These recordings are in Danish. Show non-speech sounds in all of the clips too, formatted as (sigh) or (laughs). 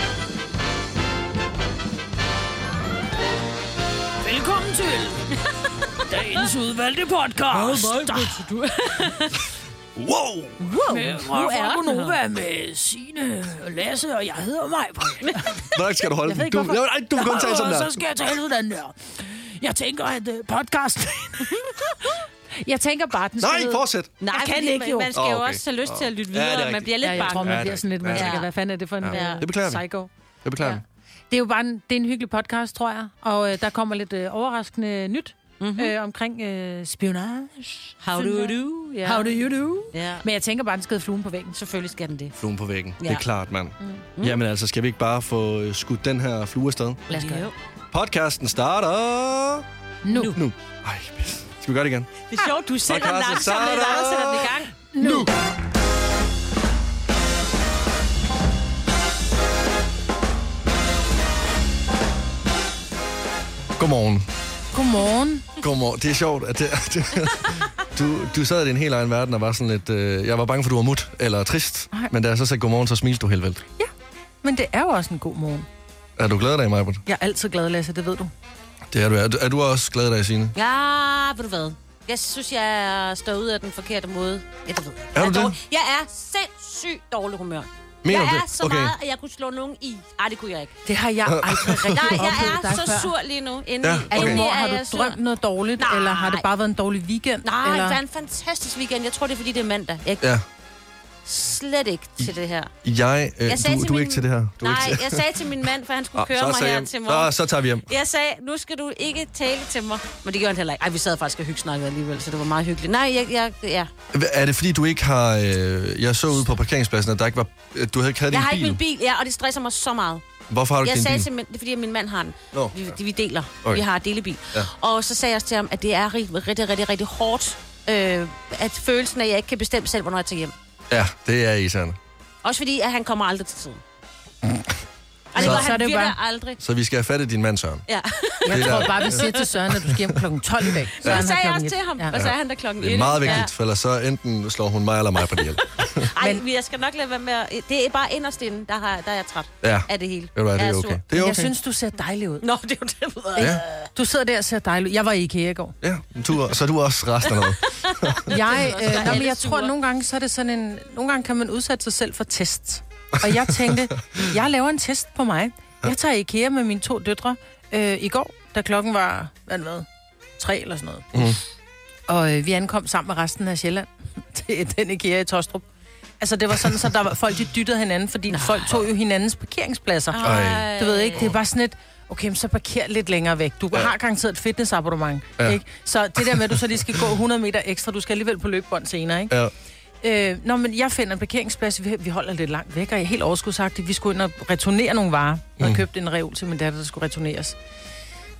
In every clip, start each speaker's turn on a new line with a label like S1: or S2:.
S1: (laughs)
S2: ugens udvalgte podcast.
S3: du?
S1: Wow!
S2: Wow,
S3: Med
S2: nu
S3: Marco
S2: er den
S3: Nova
S2: her. med Signe og Lasse, og jeg hedder mig.
S1: Hvor langt skal du holde
S2: Jeg ved
S1: den?
S2: ikke,
S1: Du,
S2: hvorfor-
S1: nej, du kan kun tale sådan
S2: og
S1: der.
S2: så skal jeg tale sådan der. Jeg tænker, at uh, podcast...
S3: Jeg tænker bare, den skal
S1: Nej,
S3: hedde-
S1: fortsæt.
S3: Nej,
S2: Jeg kan
S3: fordi
S2: ikke,
S3: man-
S2: jo.
S3: Man skal
S1: Åh,
S3: jo
S1: okay.
S3: også have lyst til at lytte
S1: Ja, det er
S3: videre. man
S1: rigtigt.
S3: bliver
S2: Ja,
S3: lidt
S2: jeg tror,
S3: bange. Ja,
S1: Ja,
S2: man bliver
S1: det-
S2: sådan lidt, man
S1: ja.
S3: tænker, hvad fanden er det for en
S1: Ja.
S3: øh,
S1: Det beklager vi.
S3: psycho?
S1: Jeg beklager.
S3: Ja. Det er jo bare en, det er en hyggelig podcast, tror jeg. Og øh, der kommer lidt øh, overraskende nyt
S2: Mhm.
S3: mm-hmm. øh, omkring øh, spionage.
S4: How do
S3: synes jeg.
S4: you do? Ja.
S3: How do you do?
S4: Ja.
S3: Men jeg tænker bare, den skal hedde fluen på væggen.
S4: Selvfølgelig skal den det.
S1: Fluen på væggen. Ja. Det er
S4: Ja.
S1: klart, mand. Mm. Jamen altså, skal vi ikke bare få øh, skudt den her flue afsted?
S3: Lad os gøre det.
S1: Podcasten starter...
S3: Nu.
S1: Nu. Ej, pis. Skal vi gøre det igen?
S4: Det er sjovt, du sætter den
S1: Podcasten
S4: langsomt, men
S1: starter
S4: Anders sætter den i gang.
S1: nu. Godmorgen.
S3: Godmorgen.
S1: Godmorgen. Det er sjovt, at det, det, (laughs) du, du sad i din helt egen verden og var sådan lidt... Øh, jeg var bange for, du var mut eller trist.
S3: Nej.
S1: Men da jeg så sagde godmorgen, så smilte du helt vildt.
S3: Men det er jo også en god morgen.
S1: Er du glad i dag, Majbert?
S3: Jeg er altid glad, Lasse, det ved du.
S1: Det er du. Er du, er du også glad i dag, Signe?
S4: Ja, ved du hvad? Jeg synes, jeg er stået ud af den forkerte måde. Ja, det ved jeg.
S1: Er
S4: jeg
S1: du det?
S4: dårlig- Jeg er sindssygt dårlig humør.
S1: Mener
S4: jeg
S1: du
S4: er
S1: det?
S4: så
S1: Okay.
S4: meget, at jeg kunne slå nogen i. Ej, det kunne jeg ikke.
S3: Det har
S1: (laughs)
S3: jeg aldrig rigtig
S4: Nej, jeg
S3: oplevet
S4: er
S3: dig
S4: så
S3: før.
S4: sur lige nu. Inden,
S1: Ja,
S3: Er
S1: Okay.
S3: du, mor,
S4: er
S3: har du
S4: jeg sur.
S3: drømt noget dårligt,
S4: Nej.
S3: eller har det bare været en dårlig weekend?
S4: Nej,
S3: eller?
S4: det var en fantastisk weekend. Jeg tror, det er, fordi det er mandag. Jeg er
S1: Ja.
S4: slet ikke til det her.
S1: Jeg, øh,
S4: Jeg
S1: jeg du,
S4: sagde
S1: du er ikke til det her. Du er
S4: nej,
S1: ikke til...
S4: jeg sagde til min mand, for han skulle
S1: Ah,
S4: køre
S1: så,
S4: mig
S1: så,
S4: her
S1: hjem.
S4: til
S1: så,
S4: morgen.
S1: så tager vi hjem.
S4: Jeg sagde, nu skal du ikke tale til mig. Men det gjorde han heller ikke. Ej, vi sad faktisk og hyggesnakkede alligevel, så det var meget hyggeligt. Nej, jeg, jeg, ja.
S1: Hva- Er det fordi, du ikke har... Øh, jeg så ude på parkeringspladsen, at der ikke var, øh, du havde ikke havde
S4: jeg
S1: din
S4: har
S1: bil.
S4: ikke min bil, ja, og det stresser mig så meget.
S1: Hvorfor har du ikke
S4: Jeg
S1: din
S4: sagde
S1: bil?
S4: til min, det er fordi, at min mand har den.
S1: Nå,
S4: Vi, vi deler.
S1: Okay.
S4: Okay. Vi har delebil.
S1: Ja.
S4: Ja. Og så sagde jeg også til ham, at det er rigtig, rigtig, rigtig, rigtig hårdt. Øh, at følelsen af, at jeg ikke kan bestemme selv, hvornår jeg tager hjem.
S1: Ja, det er irriterende.
S4: Også fordi, at han kommer aldrig til
S1: (laughs)
S4: tiden. Og det
S3: Så-
S4: gør
S3: så er
S4: han
S3: det
S4: virkelig
S3: bare-
S4: aldrig.
S1: Så vi skal have fat i din mand, Søren.
S4: Ja. (laughs)
S3: Jeg
S1: Det er
S3: tror
S1: der-
S3: bare, vi siger til Søren, at du skal hjem kl. 12 i dag. Så
S4: Det sagde jeg også til ham, ja. og så er han der klokken
S1: Det er
S4: 11.
S1: meget vigtigt, for ellers så enten slår hun mig eller mig på det hjælp.
S4: Ja. Ej,
S3: Men-
S4: men... jeg skal nok lade være med at... Det er bare inderst inde, der, har, der er jeg træt
S1: Ja,
S4: af det hele.
S1: ved du hvad, det
S4: Jeg
S1: er
S4: sur.
S1: okay. Det er
S3: Jeg
S1: okay.
S3: synes, du ser dejlig ud.
S4: Nå, det er jo det, jeg ved.
S1: Ja,
S3: Du sidder der og ser dejlig ud. Jeg var i IKEA i går.
S1: ja. Du, er- så er du også resten af noget.
S3: Jeg, øh,
S4: være
S3: nå, men
S4: alle
S3: jeg tror, at
S4: sure.
S3: nogle gange, så er det sådan en, nogle gange kan man udsætte sig selv for test. Og jeg tænkte, jeg laver en test på mig. Jeg tager i IKEA med mine to døtre øh, i går, da klokken var, hvad det var, tre eller sådan noget.
S1: Mhm.
S3: Mm. Og øh, vi ankom sammen med resten af Sjælland (laughs) til den IKEA i Tostrup. Altså, det var sådan, så der var folk, de dyttede hinanden, fordi Nej. folk tog jo hinandens parkeringspladser.
S1: Ej.
S3: Du
S4: Øh.
S3: ved ikke, det er bare sådan et, okay, men så parker lidt længere væk. Du
S1: Ja.
S3: ja. har garanteret et fitnessabonnement,
S1: Ja.
S3: ja. ikke? Så det der med, at du så lige skal gå 100 meter ekstra, du skal alligevel på løbebånd senere, ikke?
S1: Ja.
S3: Øh, nå, men jeg finder en parkeringsplads, vi, vi holder lidt langt væk, og jeg er helt overskudsagtig. Vi skulle ind og returnere nogle varer. Jeg havde
S1: Mm.
S3: købt en reol til min datter, der skulle returneres.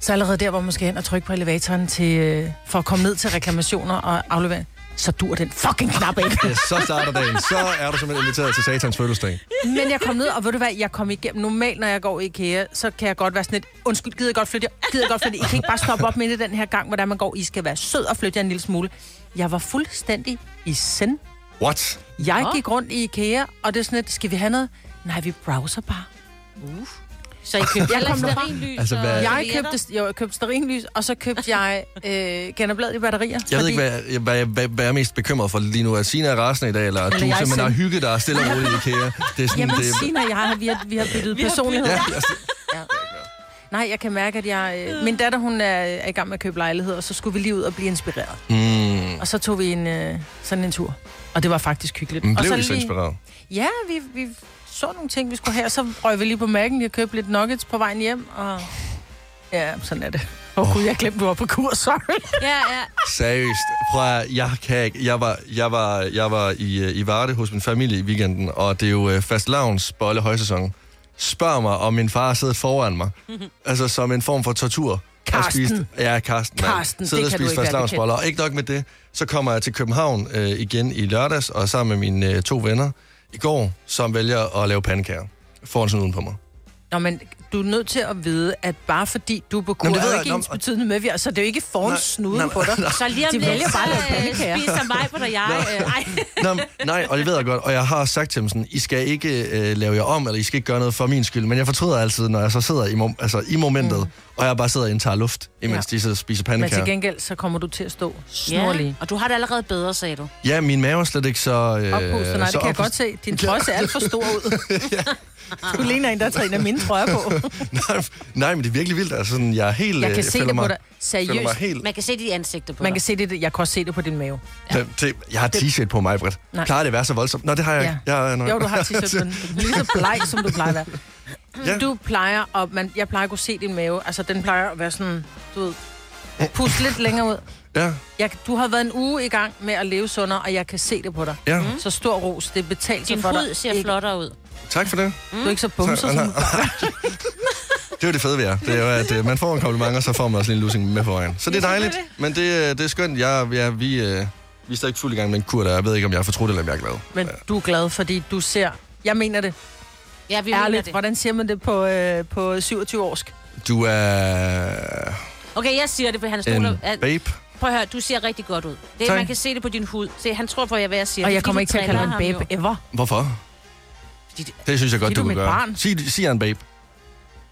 S3: Så allerede der, hvor man skal hen og trykke på elevatoren til, øh, for at komme ned til reklamationer og aflevering, så dur den fucking knap ikke.
S1: ja, så starter dagen. Så er du simpelthen inviteret til satans fødselsdag.
S3: Men jeg kom ned, og ved du hvad, jeg kom igennem. Normalt, når jeg går i IKEA, så kan jeg godt være sådan lidt, undskyld, gider jeg godt flytte jer? Gider jeg godt flytte jer? I kan ikke bare stoppe op midt i den her gang, hvordan man går. I skal være sød og flytte jer en lille smule. Jeg var fuldstændig i send.
S1: What?
S3: Jeg gik rundt i IKEA, og det er sådan lidt, skal vi have noget? Nej, vi browser bare.
S4: Så I købte
S3: Jeg
S4: jeg
S3: kom derfra.
S4: lys
S1: Altså,
S4: og
S1: hvad-
S3: Jeg
S4: servietter.
S3: købte, jo, jeg købte sterinlys, og så købte jeg øh, genopladet i batterier.
S1: Jeg ved ikke, hvad, jeg- hvad, hvad, hvad jeg er mest bekymret for lige nu. Er Sina er rasende i dag, eller at du
S3: Eller jeg er
S1: simpelthen har
S3: sind-
S1: hygget dig stille og roligt i IKEA? Det er sådan,
S3: Jamen,
S1: det,
S3: Signe og jeg, har- vi har, vi har byttet
S4: har
S3: personlighed.
S1: ja, altså,
S3: Nej, jeg kan mærke, at jeg... Øh, min datter, hun er, er i gang med at købe lejlighed, og så skulle vi lige ud og blive inspireret.
S1: mm,
S3: Og så tog vi en, øh, sådan en tur. Og det var faktisk hyggeligt.
S1: men
S3: og
S1: blev
S3: så
S1: I så inspireret?
S3: Ja, vi, vi så nogle ting, vi skulle have, og så røg vi lige på mærken. Jeg købte lidt nuggets på vejen hjem, og... Ja, sådan er det. Åh oh, gud, jeg glemte, du var på kurs, sorry.
S4: Ja, ja.
S1: Seriøst, prøv at, jeg kan ikke. Jeg var, jeg var, jeg var i, øh, i Varde hos min familie i weekenden, og det er jo øh, fast lavns bolle højsæson. Spørg mig, om min far sidder
S3: (laughs)
S1: foran mig. Altså som en form for tortur. Og
S3: Karsten.
S1: spiste- ja, Karsten. mand.
S3: Karsten, det
S1: Sidder og
S3: kan du
S1: spiste
S3: ikke være
S1: fast
S3: bekendt.
S1: Og ikke nok med det, så kommer jeg til København øh, igen i lørdags, og sammen med mine øh, to venner i går, som vælger at lave pandekager. Får en sådan uden på mig.
S3: Nå, men du er nødt til at vide, at bare fordi du er på kur,
S1: Nå, men det
S3: er
S1: ved
S3: jo
S1: jeg
S3: ikke
S1: ikke.
S3: ens
S1: Nå, men-
S3: betydende med, at vi er- så det er jo ikke foran
S1: Nej,
S3: snuden
S1: (laughs) nej,
S3: på dig.
S4: Så lige om
S3: De
S4: lidt,
S3: vælger bare at lave
S4: så
S3: pandekager.
S4: øh, spiser mig på dig, jeg. Øh, ej.
S1: Nå, men- (laughs) nej, og det ved jeg godt, og jeg har sagt til dem sådan, I skal ikke øh, lave jer om, eller I skal ikke gøre noget for min skyld, men jeg fortryder altid, når jeg så sidder i, mom- altså, i momentet, mm. og jeg bare sidder og indtager luft, imens ja. de så spiser
S3: Men
S1: pandekager.
S3: til gengæld, så kommer du til at stå snorlig.
S4: Ja, og du har det allerede bedre, sagde du.
S1: Ja, min mave er slet ikke så... Øh,
S3: Oppustet, nej, det kan
S1: så
S3: jeg
S1: oppustet.
S3: godt se. Din trøje ser alt for stor
S1: (laughs)
S3: ud. Du ligner en, der tager en af mine trøjer på.
S1: nej, (laughs) nej, men det er virkelig vildt. Altså, sådan, jeg er helt...
S3: Jeg
S1: øh,
S3: kan se
S1: føler
S3: det på
S1: mig-
S3: dig.
S1: føler mig
S3: Seriøst.
S1: helt...
S4: Man kan se dit ansigter på
S3: Man kan
S4: dig.
S3: se det, jeg kan også se det på din mave.
S1: Ja. Det, jeg har t-shirt på mig, Britt.
S3: Nej.
S1: Klarer det at være så voldsomt? Nå, det har jeg ikke.
S3: Ja.
S1: Jeg, er nok-
S3: Jo, du har t-shirt på den. Lige så bleg, som du plejer at være.
S1: Ja.
S3: Du plejer, og man, jeg plejer at kunne se din mave. Altså, den plejer at være sådan, du ved, pus lidt længere ud.
S1: ja,
S3: Jeg, du har været en uge i gang med at leve sundere, og jeg kan se det på dig.
S1: ja.
S3: Så stor ros, det betaler sig
S4: Din
S3: for dig.
S4: hud ser Mm.
S3: Ikke-
S4: flottere ud.
S1: Tak for det.
S3: Du er ikke så bumset
S1: (laughs) Tak.
S3: som du
S1: Det er jo det fede ved jer. Det er jo, at øh, man får en kompliment, og så får man også lige en lussing med på vejen. Så det er dejligt, men det, øh, det er skønt. Jeg, jeg, vi, øh, vi er stadig fuld i gang med en kur, der jeg ved ikke, om jeg er fortrudt, eller om jeg er glad.
S3: Men du er glad, fordi du ser... Jeg mener det.
S4: Ja, vi mener
S3: Ærligt.
S4: det.
S3: Hvordan siger man det på, øh, på 27-årsk?
S1: Du er
S4: Okay, jeg siger det, for han
S1: en
S4: stoler... at-
S1: babe.
S4: Prøv at høre, du ser rigtig godt ud. Det,
S1: Tak.
S4: man kan se det på din hud. Se, han tror på, at jeg, hvad jeg siger.
S3: Og
S4: Det er,
S3: jeg
S4: fordi,
S3: kommer
S4: du
S3: ikke til at kalde
S4: træner
S3: dig en
S4: ham
S3: babe
S4: jo.
S3: ever.
S1: Hvorfor?
S4: Fordi det-
S1: Det synes jeg godt,
S3: Fordi du er
S1: du, kunne
S3: mit
S1: gøre.
S3: barn.
S1: Sig, sig jeg en babe.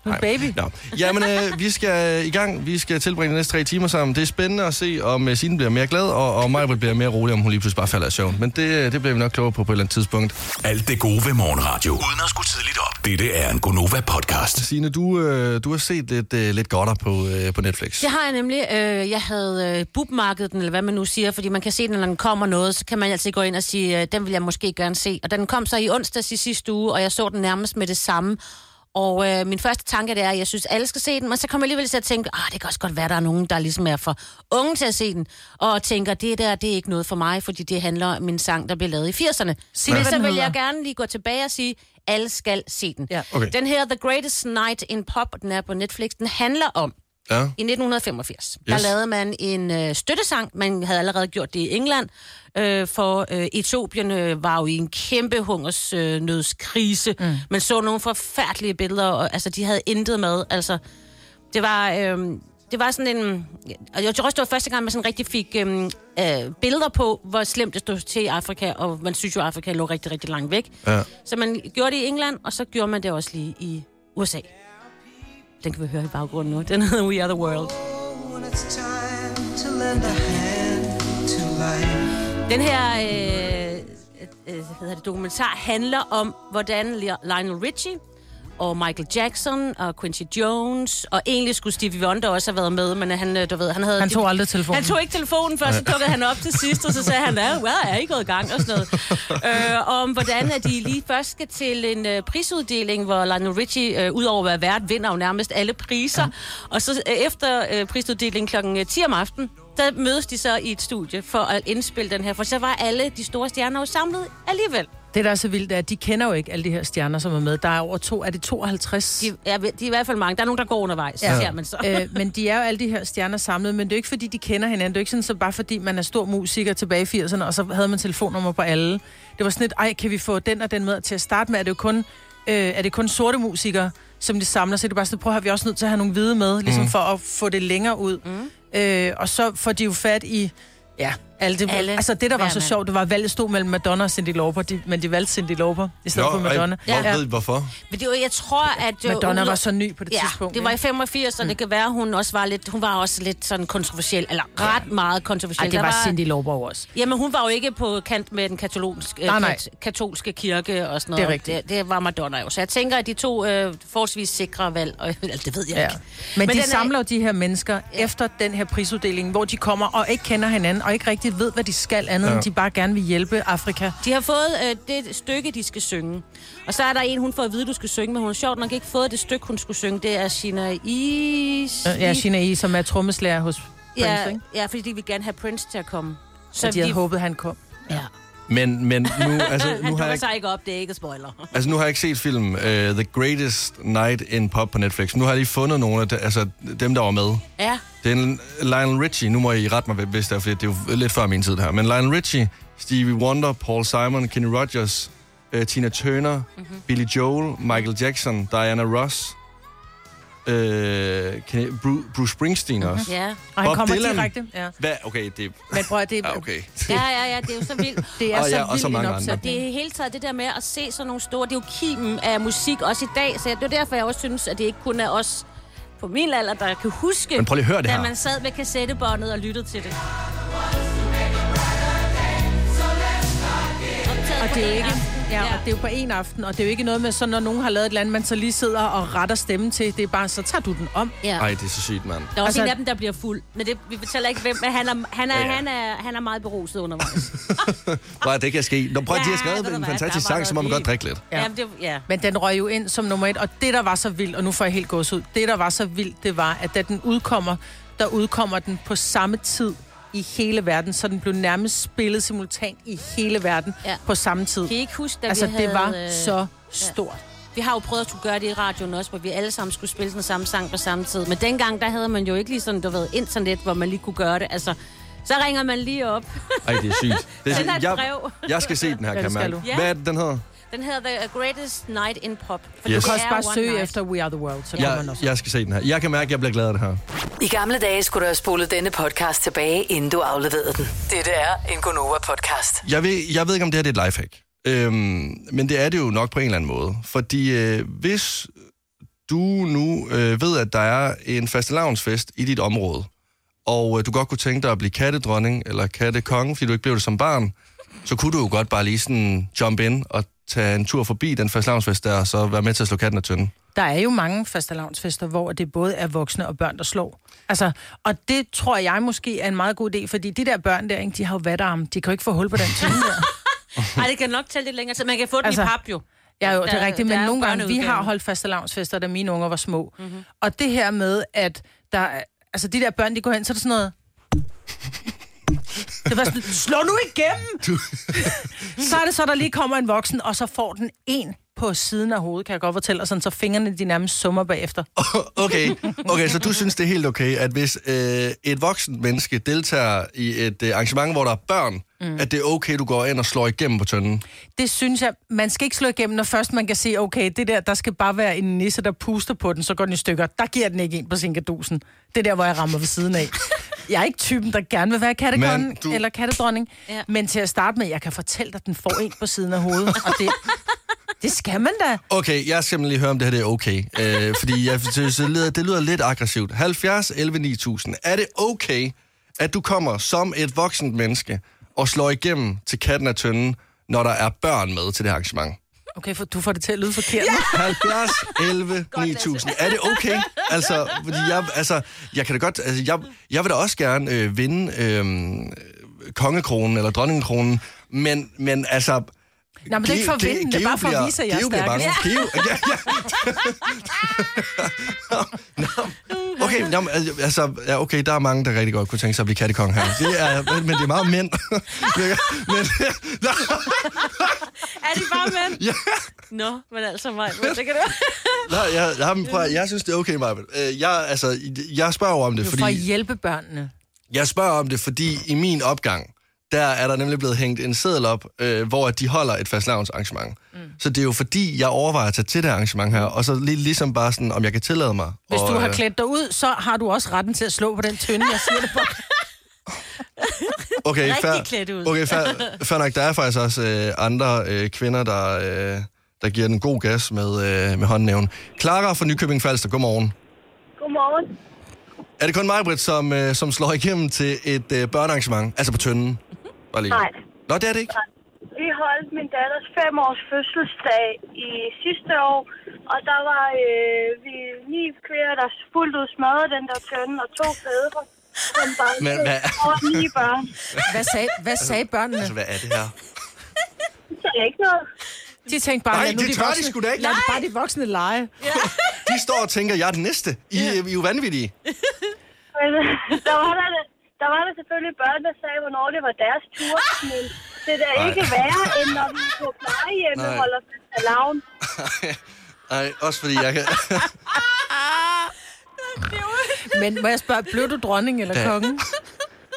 S3: Du er en
S1: Nej.
S3: baby.
S1: Nå. Jamen, øh, vi skal i gang. Vi skal tilbringe de næste tre timer sammen. Det er spændende at se, om øh, Signe bliver mere glad, og, og Majbrit bliver mere rolig, om hun lige pludselig bare falder i søvn. Men det, øh, det bliver vi nok klogere på på et eller andet tidspunkt.
S5: Alt det gode ved morgenradio. Uden at skulle tidligt op. Dette er en Gonova-podcast.
S1: Signe, du, øh, du har set lidt, øh, lidt godter på, øh, på Netflix.
S4: Det har jeg nemlig. Øh, jeg havde øh, bookmarket den, eller hvad man nu siger, fordi man kan se den, når den kommer noget, så kan man altid gå ind og sige, øh, den vil jeg måske gerne se. Og da den kom så i onsdags i sidste uge, og jeg så den nærmest med det samme. Og øh, min første tanke det er, at jeg synes, alle skal se den, men så kommer jeg alligevel til at tænke, ah, det kan også godt være, der er nogen, der ligesom er for unge til at se den, og tænker, det der, det er ikke noget for mig, fordi det handler om en sang, der blev lavet i 80'erne.
S3: Sig lige,
S4: Men
S3: hvad
S4: så
S3: den
S4: vil jeg
S3: hedder.
S4: gerne lige gå tilbage og sige, alle skal se den.
S3: Ja.
S1: Okay.
S4: Den her The Greatest Night in Pop, den er på Netflix, den handler om,
S1: Ja.
S4: i 1985, yes. der
S1: Yes.
S4: lavede man en øh, støttesang. Man havde allerede gjort det i England, øh, for øh, Etiopien øh, var jo i en kæmpe hungersnødskrise. Øh, nødskrise. Man så nogle forfærdelige billeder, og altså, de havde intet med. Altså, det var... Øh, det var sådan en... Og jeg tror også, det var første gang, man sådan rigtig fik øhm, øh, billeder på, hvor slemt det stod til i Afrika, og man synes jo, at Afrika lå rigtig, rigtig langt væk.
S1: Ja.
S4: Så man gjorde det i England, og så gjorde man det også lige i USA. Den kan vi høre i baggrunden nu. Den hedder We Are The World.
S6: When it's time to lend a hand to life.
S4: Den her øh, øh, hvad hedder det, dokumentar handler om, hvordan Li- Lionel Richie og Michael Jackson og Quincy Jones, og egentlig skulle Stevie Wonder også have været med, men han, øh, du ved, han havde...
S3: Han tog aldrig telefonen.
S4: Han tog ikke telefonen først, så dukkede han op til sidst, og så sagde han, ja, well, jeg er ikke gået i gang, og sådan noget. øh, om hvordan at de lige først skal til en øh, prisuddeling, hvor Lionel Richie, øh, udover at være vært, vinder jo nærmest alle priser. Ja. Og så øh, efter øh, prisuddelingen kl. 10 om aftenen, der mødes de så i et studie for at indspille den her, for så var alle de store stjerner jo samlet alligevel.
S3: Det, der er så vildt, er, at de kender jo ikke alle de her stjerner, som er med. Der er over to, er det 52?
S4: De, ja, de er i hvert fald mange. Der er nogen, der går undervejs, ja.
S3: Ja.
S4: ser man så.
S3: øh, men de er jo alle de her stjerner samlet, men det er jo ikke fordi, de kender hinanden. Det er jo ikke sådan, så bare fordi man er stor musiker tilbage i 80'erne, og så havde man telefonnummer på alle. Det var sådan et, ej, kan vi få den og den med? Og Til at starte med er det jo kun, øh, er det kun sorte musikere, som de samler, så er det bare sådan, prøv at høre, vi er også nødt til at have nogle hvide med, ligesom mm. for at få det længere ud. Mm. Øh, og så får de jo fat i, ja, alle det,
S4: Alle.
S3: alle. altså det, der var
S4: Hver
S3: så
S4: mand.
S3: sjovt, det var, at valget stod mellem Madonna og Cindy Lauper, de, men de valgte Cindy Lauper i stedet for Madonna.
S1: Ej, hvor ved I hvorfor?
S4: Men det, var- jeg tror, at... øh,
S3: Madonna
S4: ude-
S3: var så ny på det tidspunkt.
S4: det var i
S3: ikke? Mm.
S4: 85, og det kan være, hun også var lidt, hun var også lidt sådan kontroversiel, eller ret meget kontroversiel.
S3: Ej, det
S4: Der
S3: var Cindy Lauper jo også.
S4: Jamen, hun var jo ikke på kant med den katolske,
S3: Nej,
S4: nej,
S3: nej.
S4: nej. Kat, katolske kirke og sådan
S3: Det
S4: noget.
S3: er rigtigt.
S4: Det, det var Madonna jo. Så jeg tænker, at de to øh, forholdsvis sikre valg, og (laughs) altså, det ved jeg
S3: Ja.
S4: ikke.
S3: Men, Men de
S4: den
S3: samler jo de her mennesker ja. efter den her prisuddeling, hvor de kommer og ikke kender hinanden, og ikke rigtig ved, hvad de skal andet, ja. end de bare gerne vil hjælpe Afrika.
S4: De har fået øh, det stykke, de skal synge. Og så er der en, hun får at vide, du skal synge, men hun har sjovt nok ikke fået det stykke, hun skulle synge. Det er Sina Is...
S3: Øh, Ja, Sina I, som er trommeslager hos Prince, ja.
S4: ja,
S3: ikke?
S4: ja, fordi de vil gerne have Prince til at komme.
S3: Så de havde håbet, han kom.
S4: ja.
S1: Men, men nu,
S3: (laughs)
S1: altså,
S4: Han
S1: nu, har
S4: dukker
S1: jeg,
S4: sig ikke op, det er ikke spoiler.
S1: altså, nu har jeg ikke set filmen uh, The Greatest Night in Pop på Netflix. Nu har jeg lige fundet nogle af de, altså, dem, der var med.
S4: Ja.
S1: Det er en Lionel Richie, nu må I rette mig, hvis det er, for det er jo lidt før min tid det her. Men Lionel Richie, Stevie Wonder, Paul Simon, Kenny Rogers, uh, øh, Tina Turner,
S4: Mhm.
S1: mm-hmm. Billy Joel, Michael Jackson, Diana Ross, øh, kan- Bru- Bruce Springsteen mm-hmm. også.
S4: Mhm. Ja.
S3: Og han
S1: Bob
S3: kommer
S1: Dylan.
S3: direkte. Ja.
S1: Hvad? Okay, det
S3: Men prøv at det,
S1: er... ah, Okay.
S4: ja, ja, ja, det er jo så vildt.
S3: (laughs) det er
S1: Og
S3: så
S1: ja, og
S3: vild
S1: så mange
S3: en
S1: andre.
S3: opsætning.
S4: Det er i hele taget det der med at se sådan nogle store... Det er jo kimen af musik også i dag, så det er derfor, jeg også synes, at det ikke kun er os på min alder, der kan huske,
S1: Men prøv lige at høre det
S4: da
S1: her.
S4: man sad med kassettebåndet og lyttede til det.
S3: Og det er jo ikke, ja, og det er jo på en aften, og det er jo ikke noget med, så når nogen har lavet et eller andet, man så lige sidder og retter stemmen til. Det er bare, så tager du den om.
S4: Ja.
S1: Ej, det er så sygt, mand.
S4: Der er også
S3: Altså-
S4: altså, en af dem, der bliver fuld. Men det, vi fortæller ikke, hvem, men han er, han er, ja, ja. Han er, han er meget beruset undervejs.
S1: Bare det kan ske. Nå, prøv at de har
S4: Ja, ved
S1: skrevet
S4: du
S1: en
S4: hvad,
S1: fantastisk
S4: der var
S1: sang, så må man
S4: noget i.
S1: godt drikke lidt.
S4: ja. Jamen, det, ja.
S3: Men den røg jo ind som nummer et, og det, der var så vildt, og nu får jeg helt gås ud, det, der var så vildt, det var, at da den udkommer, der udkommer den på samme tid i hele verden, så den blev nærmest spillet simultant i hele verden ja.
S4: Ja.
S3: på samme tid.
S4: Kan I ikke huske, da
S3: Altså,
S4: vi
S3: det
S4: havde...
S3: var
S4: øh,
S3: så stort.
S4: Vi har jo prøvet at skulle gøre det i radioen også, hvor vi alle sammen skulle spille den samme sang på samme tid. Men dengang, der havde man jo ikke lige sådan, du ved, internet, hvor man lige kunne gøre det. Altså, så ringer man lige op.
S1: Ej, det er
S4: (laughs)
S1: sygt. Det
S4: Send
S1: er sygt.
S4: dig et
S1: Jeg,
S4: brev.
S1: jeg skal se den
S3: Ja,
S1: her, kan
S3: det
S1: jeg
S3: skal
S1: mærke.
S4: du.
S1: Hvad er det, den hedder?
S4: Den hedder The Greatest Night in Pop. For
S1: Yes.
S3: Du
S4: det
S3: kan også
S4: er
S3: bare
S4: one
S3: søge
S4: night.
S3: efter We Are The World, så kommer man
S1: Jeg,
S3: også.
S1: jeg skal se den her. Jeg kan mærke, at jeg bliver glad af det her.
S7: I gamle dage skulle du have spolet denne podcast tilbage, inden du afleverede den. Dette er en Gonova-podcast.
S1: Jeg ved, jeg ved ikke, om det her det er et lifehack. Øhm, men det er det jo nok på en eller anden måde. Fordi øh, hvis du nu øh, ved, at der er en fastelavnsfest i dit område, og øh, du godt kunne tænke dig at blive kattedronning eller kattekonge, fordi du ikke blev det som barn, så kunne du jo godt bare lige sådan jump in og tage en tur forbi den fastelavnsfest der, og så være med til at slå katten af tynden.
S3: Der er jo mange fastelavnsfester, hvor det både er voksne og børn, der slår. Altså, og det tror jeg måske er en meget god idé, fordi de der børn der, ikke, de har jo vatarme. De kan jo ikke få hul på den tynde der.
S4: Ej, det kan nok tage lidt længere tid. Man kan få den
S3: Altså,
S4: i pap jo.
S3: Ja, jo, det
S4: Der-
S3: er rigtigt,
S4: der
S3: men
S4: er Mhm.
S3: nogle gange, vi
S4: børneudgaven.
S3: har holdt fastelavnsfester, da mine unger var små. Mm-hmm. Og det her med, at der, er- altså, de der børn, de går hen, så er det sådan noget... Det var sådan, slå nu igennem! (laughs) så er det så, der lige kommer en voksen, og så får den en på siden af hovedet, kan jeg godt fortælle, og sådan, så fingrene de nærmest summer bagefter.
S1: (laughs) Okay, okay, så du synes, det er helt okay, at hvis øh, et voksen menneske deltager i et øh, arrangement, hvor der er børn, mm. at det er okay, du går ind og slår igennem på tønden?
S3: Det synes jeg, man skal ikke slå igennem, når først man kan se, okay, det der, der skal bare være en nisse, der puster på den, så går den i stykker. Der giver den ikke ind på sin kadusen. Det er der, hvor jeg rammer ved siden af. Jeg er ikke typen, der gerne vil være kattekongen
S1: Men du-
S3: du... eller kattedronning. Ja.
S4: Ja.
S3: Men til at starte med, jeg kan fortælle dig, at den får en på siden af hovedet. Og det, det skal man da.
S1: Okay, jeg skal lige høre, om det her det er okay. Øh, fordi jeg synes, det lyder, det lyder lidt aggressivt. 70 11 9000. Er det okay, at du kommer som et voksent menneske og slår igennem til katten af tønden, når der er børn med til det her arrangement?
S3: Okay, for du får det til at lyde forkert. Ja.
S1: 70 11 9000. Er det okay? Altså, fordi jeg, altså, jeg kan da godt... Altså, jeg, jeg vil da også gerne øh, vinde øh, kongekronen eller dronningkronen, men, men altså...
S3: Nej, men det er ikke for at
S1: Geo-
S3: vinde, det er
S1: Geo
S3: bare for at
S1: bliver-
S3: vise, at jeg er
S1: Geo bliver
S3: stærk.
S1: bange. Geo- ja, ja. Nå, okay, nå, men, altså, ja, okay, der er mange, der rigtig godt kunne tænke sig at blive kattekong her. Det er, men det er meget mænd. men,
S4: Er det bare mænd?
S1: Ja.
S4: Nå, men altså mig. Det (laughs) kan du...
S1: Nej, jeg, jeg, jeg, jeg, jeg synes, det er okay, Maja. Jeg, altså, jeg spørger jo om det,
S3: Du får
S1: fordi...
S3: hjælpe børnene.
S1: Jeg spørger om det, fordi i min opgang, der er der nemlig blevet hængt en seddel op, øh, hvor at de holder et fastlavnsarrangement. Mm. Så det er jo fordi, jeg overvejer at tage til det arrangement her, og så lige, ligesom bare sådan, om jeg kan tillade mig.
S3: Hvis
S1: og,
S3: du har
S1: øh,
S3: klædt dig ud, så har du også retten til at slå på den tynde, jeg siger
S1: (laughs)
S3: det på.
S1: okay,
S4: rigtig
S1: fair,
S4: klædt ud.
S1: Okay, fair, fair nok. Der er faktisk også øh, andre øh, kvinder, der, øh, der giver den god gas med, øh, med håndnævn. Clara fra Nykøbing Falster, godmorgen.
S8: Godmorgen.
S1: Er det kun mig, Britt, som, øh, som slår igennem til et øh, børnearrangement? Altså på tønden? Bare lige.
S8: Mhm. Nej.
S1: Nå, det er det ikke?
S8: Vi holdt min datters femårs fødselsdag i sidste år, og der var øh, vi ni kvinder, der fuldt ud smadrede den der tønde, og to fædre, som bare
S1: Men hvad-
S8: og ni børn.
S3: Hvad sagde, hvad sagde børnene?
S1: Altså, hvad er det her?
S8: Det sagde jeg ikke noget.
S3: De tænkte bare,
S1: Nej,
S3: lad nu
S1: det
S3: de
S1: tør de
S3: voksne,
S1: sgu da ikke.
S3: Lad bare de voksne lege.
S1: De står og tænker, jeg er den næste. I, yeah. I er jo vanvittige.
S8: Men (laughs) øh, der var der, der var der selvfølgelig børn, der sagde, hvornår det var deres tur, men det er da
S1: Nej.
S8: ikke værre, end når vi på plejehjemmet
S1: Nej.
S8: holder fastelavn.
S1: Ej, også fordi jeg kan...
S3: Men må jeg spørge, blev du dronning eller
S1: Da-
S3: konge?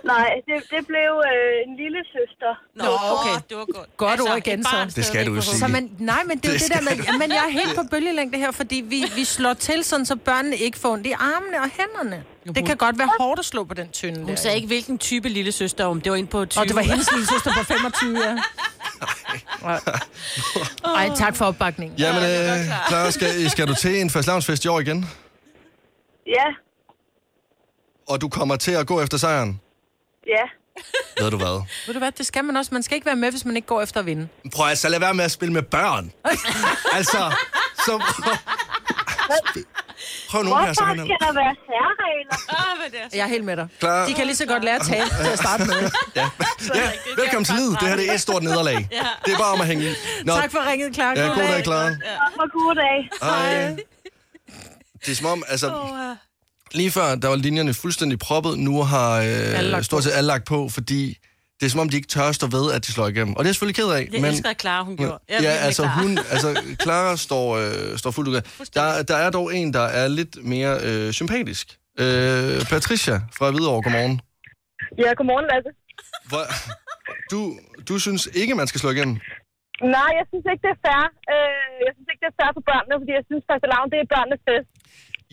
S8: Nej, det, det blev øh, en lille søster.
S4: Nå,
S3: okay.
S4: det var godt. Altså,
S3: Godt ord igen,
S4: et
S3: så.
S4: barn
S3: Det
S4: stadigvæk
S1: skal du jo
S4: på
S1: sige.
S3: Så
S4: hovedet.
S3: man, nej, men det er jo det,
S1: Det
S3: der med, jamen, jeg er helt på bølgelængde her, fordi vi, vi slår til sådan, så børnene ikke får ondt i armene og hænderne. Det kan godt være hårdt at slå på den tynde
S4: Hun
S3: der,
S4: sagde
S3: jo.
S4: ikke, hvilken type lille søster, om det var ind på 20.
S3: Og det var hendes lille søster på 25, ja. Ja. Ej, tak for opbakningen.
S1: Jamen, øh, Clara, skal, skal du til en fastlavnsfest i år igen?
S8: Ja,
S1: Og du kommer til at gå efter sejren?
S8: ja.
S1: Ved du hvad?
S3: Ved du hvad, det skal man også. Man skal ikke være med, hvis man ikke går efter at vinde.
S1: Prøv altså at så lad være med at spille med børn. altså, så prøv, prøv nu her, så
S8: Hvorfor
S1: hinanden.
S8: skal der være særregler?
S3: Jeg er helt med dig.
S1: Klar.
S3: De kan lige så godt lære at tale til at starte
S1: (laughs)
S3: med.
S1: Ja. ja. Velkommen til livet. Det her det er et stort nederlag. Det er bare om at hænge i. Nå,
S3: Tak for ringet, Clark.
S1: ja, god dag, Clara.
S8: Og god dag.
S1: Hej. Det er som om, altså... Lige før, der var linjerne fuldstændig proppet. Nu har øh,
S3: lagt
S1: stort set alle lagt på, fordi det er som om, de ikke tør stå ved, at de slår igennem. Og det er jeg selvfølgelig ked af.
S4: Jeg elsker at klare, hun gjorde. Jeg er
S1: ja,
S4: virkelig
S1: altså
S4: Clara.
S1: hun, altså
S4: (laughs)
S1: Clara står, øh, står fuldt ud af. Der, der er dog en, der er lidt mere øh, sympatisk. Øh, Patricia fra Hvidovre, godmorgen.
S8: Ja, godmorgen, Lasse.
S1: Hvor, du, du synes ikke, man skal slå igennem?
S8: Nej, jeg synes ikke, det er fair. Øh, jeg synes ikke, det er fair for børnene, fordi jeg synes, fastelavn, det er børnenes fest.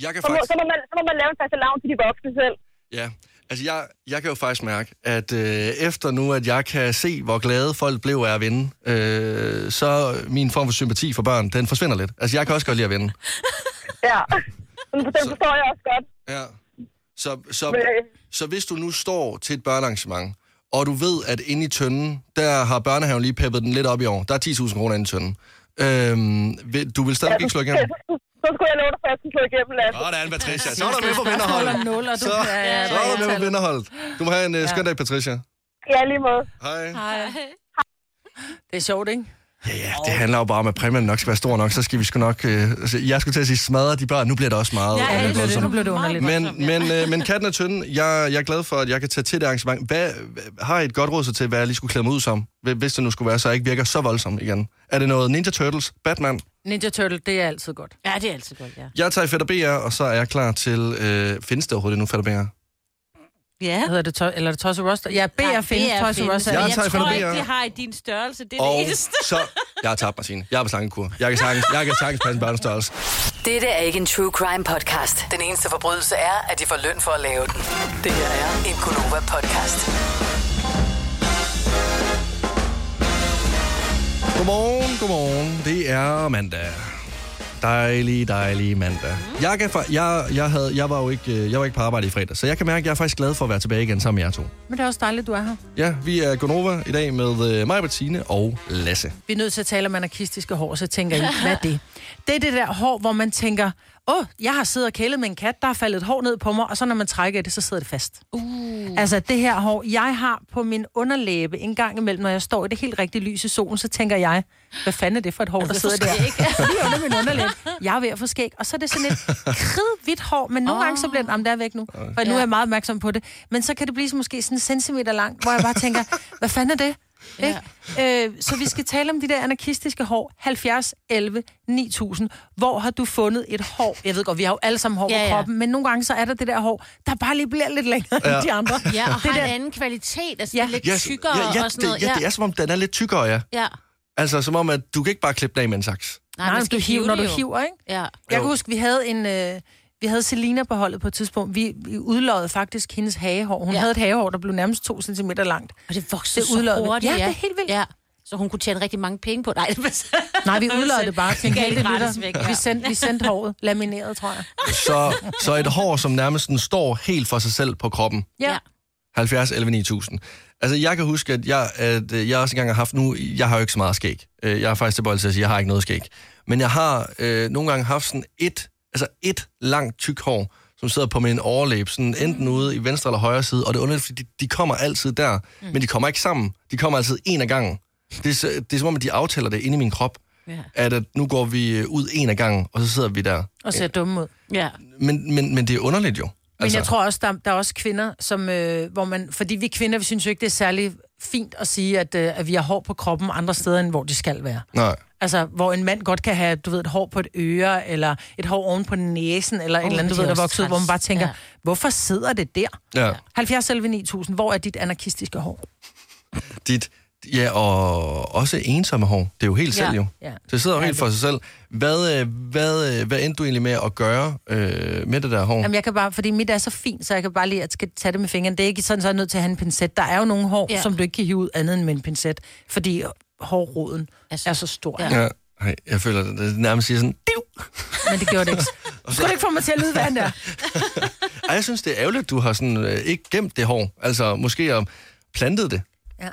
S1: Jeg kan
S8: Så må,
S1: faktisk...
S8: så må, man, så må man lave en fastelavn til de voksne selv.
S1: Ja, altså jeg, jeg kan jo faktisk mærke, at øh, efter nu, at jeg kan se, hvor glade folk blev af at vinde, øh, så min form for sympati for børn, den forsvinder lidt. Altså jeg kan også godt lide at vinde.
S8: Ja. Men på den forstår jeg også godt.
S1: Ja. Så, så,
S8: Men, øh,
S1: så hvis du nu står til et børnearrangement, og du ved, at inde i tønden, der har børnehaven lige peppet den lidt op i år. Der er 10.000 kroner inde i tønden. Øhm, vil- du vil stadig ikke slå igennem?
S8: øh, (laughs) Så skulle jeg love dig, for at jeg skulle slå igennem, Lasse.
S1: Sådan, Patricia. Så er du med på vinderholdet.
S3: Holder nul, og du...
S1: Så, så
S3: Ja,
S1: er du med på vinderholdet. Du må have en uh, skøn dag, Patricia.
S8: Ja, lige måde.
S1: Hej.
S3: Det er sjovt, ikke?
S1: Ja, det handler jo bare om, at præmien nok skal være stor nok, så skal vi sgu nok... Øh, altså, jeg skulle til at sige, smadre de børn, nu bliver det også meget.
S4: Ja,
S1: øh,
S4: nu bliver det-
S1: voldsomt.
S3: nu bliver det underligt.
S1: men, men, øh, men katten er tynd. Jeg, jeg er glad for, at jeg kan tage til det arrangement. Hvad, hvad- har I et godt råd så til, hvad jeg lige skulle klæde mig ud som? Hvis- Hvis det nu skulle være, så jeg ikke virker så voldsom igen. Er det noget Ninja Turtles? Batman?
S3: Ninja Turtle, det er altid godt.
S4: Ja, det er altid godt, ja.
S1: Jeg tager i Fætter BR, og så er jeg klar til... Øh, findes det overhovedet nu, Fætter BR?
S4: Ja.
S3: Hedder det to- eller er det Tosse Roster? Ja, B er Finn, Tosse Roster.
S1: Ja.
S4: Jeg,
S1: Jeg
S4: jeg
S1: tager
S4: tror
S1: Fanta
S4: ikke,
S1: B, ja.
S4: de har i din størrelse. Det er
S1: Og
S4: det eneste.
S1: så... Jeg har tabt, Martine. Jeg er på slankekur. Jeg kan sagtens, jeg kan sagtens passe en børnestørrelse.
S7: Dette er ikke en true crime podcast. Den eneste forbrydelse er, at de får løn for at lave den. Det her er en Gunova podcast.
S1: Godmorgen, godmorgen. Det er mandag. Dejlig, dejlig mandag. Jeg, kan fa- jeg, jeg, havde, jeg, var jo ikke, øh, jeg var ikke på arbejde i fredag, så jeg kan mærke, at jeg er faktisk glad for at være tilbage igen sammen med jer to.
S3: Men det er også dejligt, du er her.
S1: Ja, vi er Gonova i dag med øh, mig, Bettine og Lasse.
S3: Vi er nødt til at tale om anarkistiske hår, så tænker I, hvad er det? Det er det der hår, hvor man tænker, åh, oh, jeg har siddet og kælet med en kat, der er faldet et hår ned på mig, og så når man trækker i det, så sidder det fast. Uh. Altså det her hår, jeg har på min underlæbe en gang imellem, når jeg står i det helt rigtige lys i solen, så tænker jeg, hvad fanden er det for et hår, der sidder der? Lige under min underlæbe. Jeg er ved at få skæg, og så er det sådan et kridhvidt hår, men nogle oh. gange så bliver den, jamen, der er væk nu, for nu er jeg meget opmærksom på det. Men så kan det blive så måske sådan en centimeter lang, hvor jeg bare tænker, hvad fanden er det? Ikke? Øh, så vi skal tale om de der anarkistiske hår. 70, 11, 9000. Hvor har du fundet et hår? Jeg ved godt, vi har jo alle sammen hår
S4: Ja,
S3: ja, på
S4: ja.
S3: kroppen, men nogle gange så er der det der hår, der bare lige bliver lidt længere ja. end de andre.
S4: Ja, (laughs) og
S3: det
S4: har en anden kvalitet. Altså,
S3: Ja.
S4: ja. lidt tykkere
S1: ja, ja,
S4: og sådan noget.
S1: det, ja, det er som om, den er lidt tykkere, ja.
S4: ja.
S1: Altså, som om, at du kan ikke bare klippe den af med en saks.
S3: Nej,
S4: man
S3: Nej
S4: skal
S3: du hiver,
S4: hive
S3: når
S4: det
S3: du
S4: jo.
S3: hiver, ikke?
S4: Ja.
S3: Jeg
S1: Jo.
S3: kan huske, vi havde en... Øh, vi havde Selina på holdet på et tidspunkt. Vi, vi udlodede faktisk hendes hagehår. Hun ja.
S4: Ja.
S3: havde et hagehår, der blev nærmest to centimeter langt.
S4: Og det vokser
S3: Det
S4: det
S3: er udloddet.
S4: så hurtigt.
S3: Ja, det er helt vildt.
S4: Ja. Så hun kunne tjene rigtig mange penge på det. Nej, (laughs) det var
S3: Nej, vi udlodede det bare til en
S4: gav
S3: hel
S4: det gratis
S3: lytter.
S4: væk,
S3: Ja.
S4: ja.
S3: Vi, sendte, vi sendte håret lamineret, tror jeg.
S1: Så, så et hår, som nærmest sådan står helt for sig selv på kroppen.
S3: Ja. ja.
S4: Ja.
S1: 70, 11, 9000. Altså, jeg kan huske, at jeg, at øh, jeg også engang har haft nu... Jeg har jo ikke så meget skæg. Øh, Jeg har faktisk tilbøjelig til at sige, at jeg har ikke noget skæg. Men jeg har øh, nogle gange haft sådan et, altså et langt tyk hår, som sidder på min overlæb, sådan enten ude i venstre eller højre side, og det er underligt, fordi de, de kommer altid der, mm. men de kommer ikke sammen. De kommer altid en af gangen. Det er, så- det er som om, at de aftaler det inde i min krop,
S4: Ja.
S1: at, at nu går vi øh, ud en af gangen, og så sidder vi der.
S3: Og
S4: Øh.
S3: ser dumme ud.
S4: Ja.
S1: Men, men, men det er underligt jo.
S3: Men altså. jeg tror også, der, der er også kvinder, som, øh, hvor man, fordi vi kvinder, vi synes jo ikke, det er særlig fint at sige, at, øh, at vi har hår på kroppen andre steder, end hvor de skal være.
S1: Nej.
S3: Altså, hvor en mand godt kan have, du ved, et hår på et øre, eller et hår oven på næsen, eller oh, et eller andet,
S4: det
S3: du ved,
S4: er
S3: der
S4: også
S3: vokser ud, hvor man bare
S4: træls.
S3: tænker, ja.
S4: Ja.
S3: hvorfor sidder det der?
S1: Ja.
S3: 70 selv 9000, hvor er dit anarkistiske hår?
S1: Dit, ja, og også ensomme hår. Det er jo helt
S4: Ja.
S1: selv, jo.
S3: Ja.
S1: Det sidder jo
S3: Ja,
S1: helt
S3: det-
S1: for sig selv. Hvad, øh, hvad, øh, hvad endte du egentlig med at gøre øh, med det der hår?
S3: Jamen, jeg kan bare, fordi mit er så fint, så jeg kan bare lige at skal tage det med fingeren. Det er ikke sådan, så jeg er nødt til at have en pincet. Der er jo nogle hår, ja.
S4: Ja.
S3: som du ikke kan hive ud andet end med en pincet, fordi hårroden altså,
S4: Altså,
S3: er så stor. Ja.
S4: ja.
S1: Ja. Ej, jeg føler, det- det nærmest siger sådan, div.
S3: Men det gjorde det ikke. (laughs) Skulle du ikke få mig til at lyde, hvad han er?
S1: Ej, jeg synes, det er ærgerligt, at du har sådan, øh, ikke gemt det hår. Altså, måske har plantet det.
S3: Ja.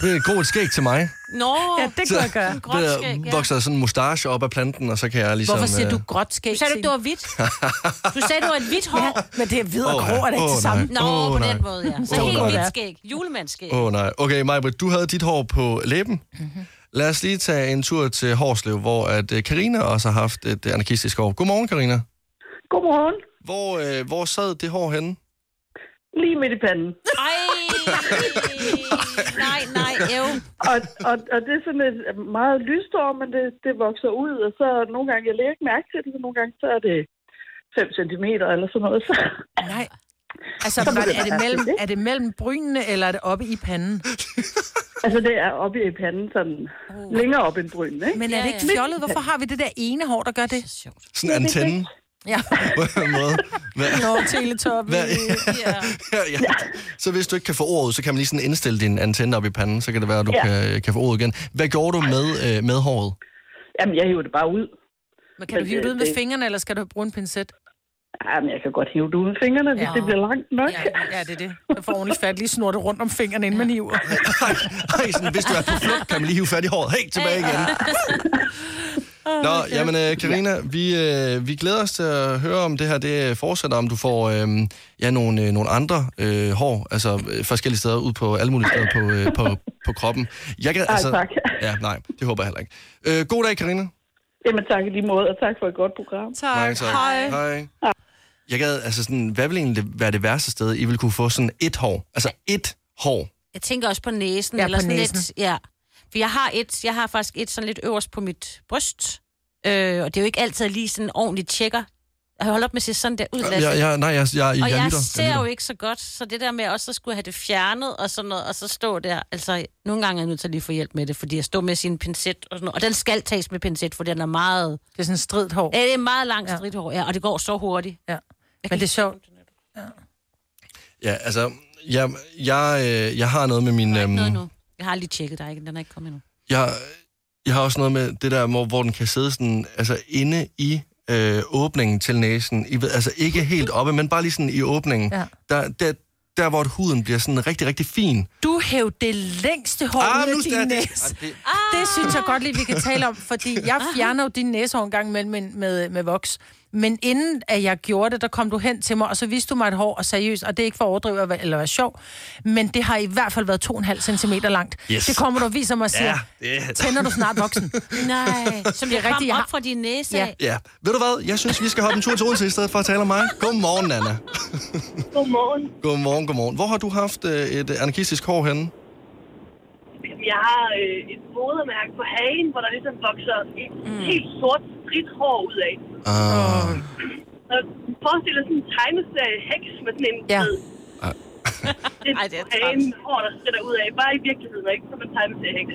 S1: Det er et godt skæg til mig.
S4: Nå,
S3: (laughs) Ja, det kunne jeg gøre.
S4: Gråt
S1: der
S4: skæg, ja.
S1: vokser sådan en mustache op af planten, og så kan jeg ligesom...
S3: Hvorfor siger du
S1: øh,
S3: gråt skæg?
S4: Du sagde, du ikke, det var hvidt.
S1: (laughs)
S4: Du sagde, det var et hvidt hår.
S3: Men det er hvid og
S1: Åh,
S3: grå, er det ikke
S1: åh,
S3: det samme?
S1: nej.
S4: Nå,
S1: Åh,
S4: på
S1: nej.
S4: den måde, ja. Så
S1: Åh,
S4: helt
S1: nej.
S4: hvidt skæg. Julemandsskæg.
S1: Åh oh, nej. Okay, Majbrit, du havde dit hår på læben. Mm-hmm. Lad os lige tage en tur til Hårslev, hvor at øh, Karina også har haft et øh, anarkistisk hår. Godmorgen, Karina.
S8: Godmorgen.
S1: Hvor, øh, hvor sad det hår henne?
S8: Lige midt i panden.
S1: (laughs)
S4: Ej, nej, nej, ev.
S8: Og, og, og det er sådan et meget lyst hår, men det, det vokser ud, og så nogle gange, jeg lægger ikke mærke til det, så nogle gange, så er det 5 cm eller sådan noget. Så,
S3: Nej. Altså, var det, er, det mellem, er det mellem brynene, eller er det oppe i panden?
S8: altså, det er oppe i panden, sådan længere op end brynen, ikke?
S3: Men øh, er det ikke
S4: Ja, ja.
S3: fjollet? Hvorfor har vi det der ene hår, der gør det?
S4: Sjovt.
S1: Sådan en antenne
S3: Ja.
S1: (laughs) på en måde. Hvad?
S3: Nå, teletoppen.
S1: Hvad?
S4: Ja.
S1: (laughs) Ja, ja. Så hvis du ikke kan få ordet, så kan man lige sådan indstille din antenne op i panden, så kan det være, at du ja.
S8: Ja.
S1: kan, kan få ordet igen. Hvad gjorde du med, øh, med håret?
S8: Jamen, jeg hiver det bare ud.
S3: Men kan du hive det ud med fingrene, eller skal du bruge en pincet?
S8: Jamen, jeg kan godt hive det ud med fingrene, hvis
S3: Ja.
S8: det bliver langt nok.
S3: Ja, ja, det er det. Du får ordentligt fat, lige snor det rundt om fingrene, inden man hiver.
S1: Ej, sådan, hvis du er på flugt, kan man lige hive fat i håret. Hey, tilbage igen. Nå, jamen øh, Karina, vi, øh, vi glæder os til at høre om det her. Det øh, fortsætter, om du får øh, ja, nogle, øh, nogle andre øh, hår, altså øh, forskellige steder ud på alle mulige steder på, øh, på, på kroppen. Jeg kan, altså-
S8: Ej, tak.
S1: Ja, nej, det håber jeg heller ikke. Øh, god dag, Karina.
S8: (laughs) Jamen, tak i lige måde, og tak for et godt program.
S1: Mange tak. Hej. Hej. Jeg gad, altså sådan, hvad ville egentlig være det værste sted, I ville kunne få sådan et hår? Altså et hår.
S4: Jeg tænker også på næsen.
S3: Ja,
S4: eller
S3: på
S4: sådan
S3: næsen.
S4: Lidt, ja. For jeg har, et, jeg har faktisk et sådan lidt øverst på mit bryst. Øh, og det er jo ikke altid jeg lige sådan ordentligt tjekker. Jeg holder op med at se sådan der ud. Lasse.
S1: Jeg, jeg, nej, jeg, jeg, jeg,
S4: og jeg,
S1: lytter.
S4: ser jo ikke så godt, så det der med også at skulle have det fjernet og sådan noget, og så stå der, altså nogle gange er jeg nødt til at lige få hjælp med det, fordi jeg står med sin pincet og sådan noget, og den skal tages med pincet, for den er meget,
S3: Det er sådan et stridt hår.
S4: ja, det er meget langt ja. stridthår, ja, og det går så hurtigt.
S3: Ja. Men det er sjovt.
S1: Ja, altså, jeg, jeg, øh, jeg har noget med min...
S4: Ikke
S1: øhm,
S4: noget nu. Jeg har lige tjekket dig, den er ikke kommet endnu.
S1: jeg, jeg har også noget med det der, hvor, hvor den kan sidde sådan, altså inde i øh, åbningen til næsen. I ved, altså ikke helt oppe, men bare lige sådan i åbningen.
S3: Ja.
S1: Der, der, der, hvor huden bliver sådan rigtig, rigtig fin.
S3: Du hæv det længste hår ah, ud af din næse.
S1: Ah, det-
S3: Det synes jeg godt lige, vi kan tale om, fordi jeg fjerner jo din næsehår en gang imellem med, med, med voks. Men inden at jeg gjorde det, der kom du hen til mig, og så viste du mig et hår, og seriøst, og det er ikke for at overdrive at være- eller være sjov, men det har i hvert fald været 2,5 cm langt.
S1: Yes.
S3: Det kommer du og viser mig og siger,
S1: Ja, det-
S3: tænder du snart voksen?
S4: Nej, som det
S3: er
S4: er
S3: rigtigt,
S4: rigtigt,
S3: jeg
S4: op
S3: har-
S4: fra din næse
S3: Ja.
S4: af.
S1: Ja, ved du hvad? Jeg synes, vi skal hoppe en tur til Odense i stedet for at tale om mig. Godmorgen, Anna.
S8: Godmorgen.
S1: Godmorgen, godmorgen. Hvor har du haft øh, et anarkistisk hår henne?
S8: Jeg har øh, et modermærke på hagen, hvor der ligesom vokser et mm. helt sort stridt hår ud af.
S1: Uh,
S8: Og forestil dig sådan en tegneserie heks med sådan en
S3: Ja.
S8: fed- (laughs) Det
S4: Ej,
S8: Ej,
S4: det
S8: det
S4: er
S8: er hagen, hår, der strider ud af. Bare i virkeligheden, og ikke som en tegneserie heks.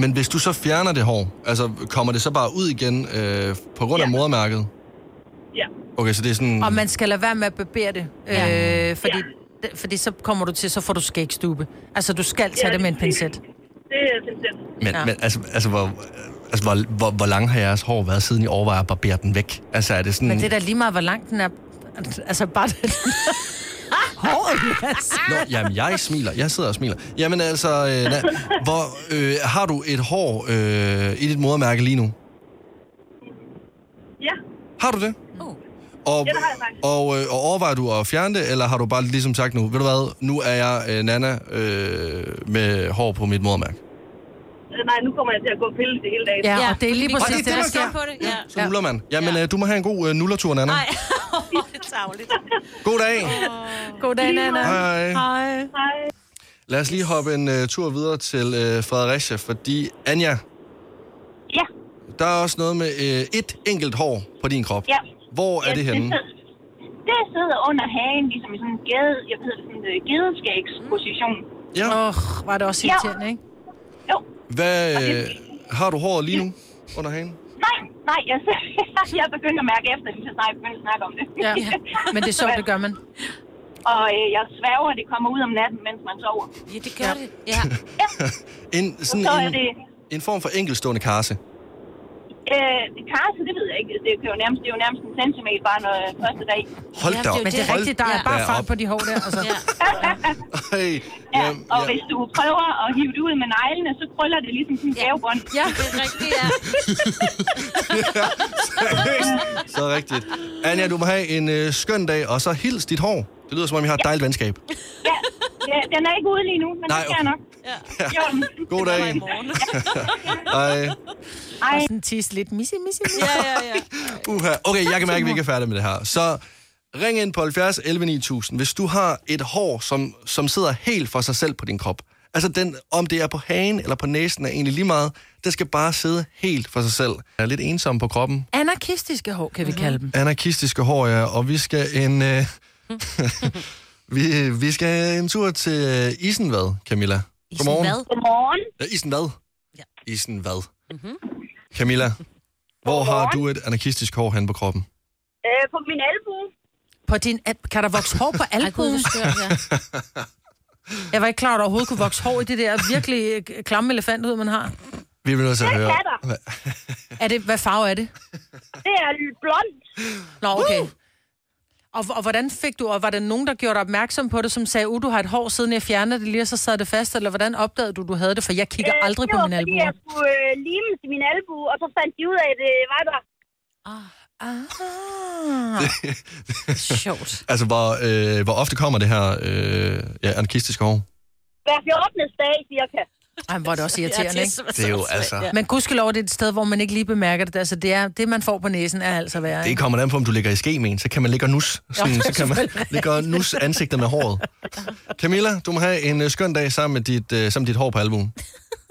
S1: men hvis du så fjerner det hår, altså kommer det så bare ud igen øh, på grund af
S8: Ja.
S1: modermærket?
S8: Ja.
S1: Okay, så det er sådan...
S3: Og man skal lade være med at barbere det, øh, fordi, d- fordi så kommer du til, så får du skægstube. Altså, du skal tage
S8: Ja,
S3: det med en
S8: det er fint.
S3: pincet.
S8: Det er simpelthen.
S1: Men,
S3: Ja.
S1: ja. men altså, altså, hvor, altså hvor, hvor, hvor lang har jeres hår været, siden I overvejer at barbere den væk? Altså er det sådan...
S3: Men det er da lige meget, hvor langt den er. Altså, bare
S4: (laughs)
S3: det. Håret, yes.
S1: Nå, jamen, jeg smiler. Jeg sidder og smiler. Jamen altså, øh, na, hvor, øh, har du et hår øh, i dit modermærke lige nu?
S8: Ja.
S1: Har du det?
S4: Uh.
S1: Og,
S8: Ja, det har jeg faktisk.
S1: og, øh, og overvejer du at fjerne det, eller har du bare ligesom sagt nu, ved du hvad, nu er jeg øh, Nana øh, med hår på mit modermærke?
S8: Øh, Nej, nu kommer jeg til at gå og pille det hele dagen.
S3: Ja, og det er lige
S4: fordi vi
S3: præcis
S4: kan
S3: det, der
S4: stå
S3: sker.
S4: på det. Ja.
S1: Så nuller man. Jamen,
S4: Ja.
S1: øh, du må have en god øh, nullertur, Nana.
S4: Nej, det er tavligt.
S1: God
S4: (laughs)
S1: dag.
S3: Goddag, Nana.
S1: Hej.
S3: Hej.
S8: Hej.
S1: øh, Lad os lige hoppe en uh, tur videre til uh, Fredericia, fordi øh, Anja,
S8: Ja.
S1: Der er også noget med øh, et enkelt hår på din krop.
S8: Ja.
S1: Hvor er det
S8: (laughs)
S1: henne?
S8: sidder- Det sidder under hagen, ligesom i sådan en gede, jeg ved, sådan en øh, gedeskægsposition.
S1: Ja.
S3: Åh, oh, var det også
S8: Ja.
S3: irriterende, ikke?
S8: Jo,
S1: Hvad, øh, har du håret lige
S8: (laughs)
S1: nu under hagen?
S8: nej, nej, jeg, (laughs) jeg begyndte at mærke efter, lige så snart jeg begyndte at snakke om det.
S3: Ja. Men det er sjovt, det gør man.
S8: (laughs) Og øh, jeg sværger, at det kommer ud om natten, mens man sover.
S4: Ja, det gør ja. det. Ja.
S1: En,
S8: Så er
S1: (laughs) sådan en,
S8: det...
S1: en form for enkeltstående karse.
S8: Øh, karse, det ved jeg ikke. Det er jo nærmest, det er jo nærmest en centimeter bare når øh, første dag.
S1: Hold da op.
S4: Jamen,
S3: Men det er
S4: Hold
S3: rigtigt, der er
S4: da
S3: bare fart
S1: op.
S3: på de hår der. Altså.
S4: Ja.
S1: (laughs) Hey,
S8: (laughs) Ja,
S1: jamen,
S8: og
S1: ja. (laughs)
S8: hvis du prøver at hive det ud med neglene, så krøller det ligesom sådan en gavebånd.
S4: ja, det er rigtigt, ja.
S1: Så rigtigt. Anja, du må have en øh, skøn dag, og så hils dit hår. Det lyder, som om I har et dejligt
S8: (laughs)
S1: venskab.
S8: Ja, ja, den er ikke ude lige nu, men
S1: Nej,
S8: det skal jeg
S1: okay.
S8: nok. Ja. Jo,
S1: (laughs) God dag.
S4: I morgen.
S1: Hej.
S8: ej,
S3: Sådan tisse lidt. Misse, misse, misse.
S4: Ja, ja, ja.
S1: Uha. Okay, jeg kan mærke, at vi ikke er færdige med det her. Så ring ind på 70 11 9000, hvis du har et hår, som, som sidder helt for sig selv på din krop. Altså, den, om det er på hagen eller på næsen, er egentlig lige meget. Det skal bare sidde helt for sig selv. Jeg er lidt ensom på kroppen.
S3: Anarkistiske hår,
S4: Mhm.
S3: kan vi kalde dem.
S1: Anarkistiske hår, ja. Og vi skal en... (laughs) Øh... vi, vi skal en tur til øh, Isenvad, Camilla. Godmorgen.
S4: Hvad?
S8: godmorgen.
S1: Ja, Isenvad. Ja. Isenvad. Mm-hmm. Camilla, hvor har du et anarkistisk hår hen på kroppen?
S8: Øh, på min albue.
S3: På din, at- kan der vokse hår på
S4: Ej, gud,
S3: albuen?
S4: det skørt, ja.
S3: Jeg var ikke klar, at der overhovedet kunne vokse hår i det der virkelig øh, klamme elefanthud, man har.
S1: Vi vil nødt til at høre.
S8: kan der.
S3: Er det, hvad farve er det?
S8: Det er blondt.
S3: Nå, okay. Og, og hvordan fik du, og var der nogen, der gjorde dig opmærksom på det, som sagde, uh, du har et hår, siden jeg fjernede det lige, og så sad det fast, eller hvordan opdagede du, du havde det? For jeg kigger
S8: Øh,
S3: aldrig
S8: det
S3: på
S8: var
S3: min
S8: fordi,
S3: albue.
S8: jeg skulle øh, lime til min albue, og så fandt de ud af, at det var der.
S3: Ah.
S4: Sjovt.
S1: Altså, hvor, øh, hvor ofte kommer det her øh, ja, anarkistiske hår?
S8: Hver 14. dag, cirka.
S3: Ej, hvor er det også irriterende, ikke?
S1: Det er jo altså...
S3: Men gudskelov, det er et sted, hvor man ikke lige bemærker det. Altså, det, er, det man får på næsen, er altså værre.
S1: Det
S3: ikke?
S1: kommer an på, om du ligger i ske med en. Så kan man ligge og nus. Sådan,
S3: Jo,
S1: så kan man ligge og nus ansigtet med håret. Camilla, du må have en øh, skøn dag sammen med dit, øh, sammen med dit hår på albuen.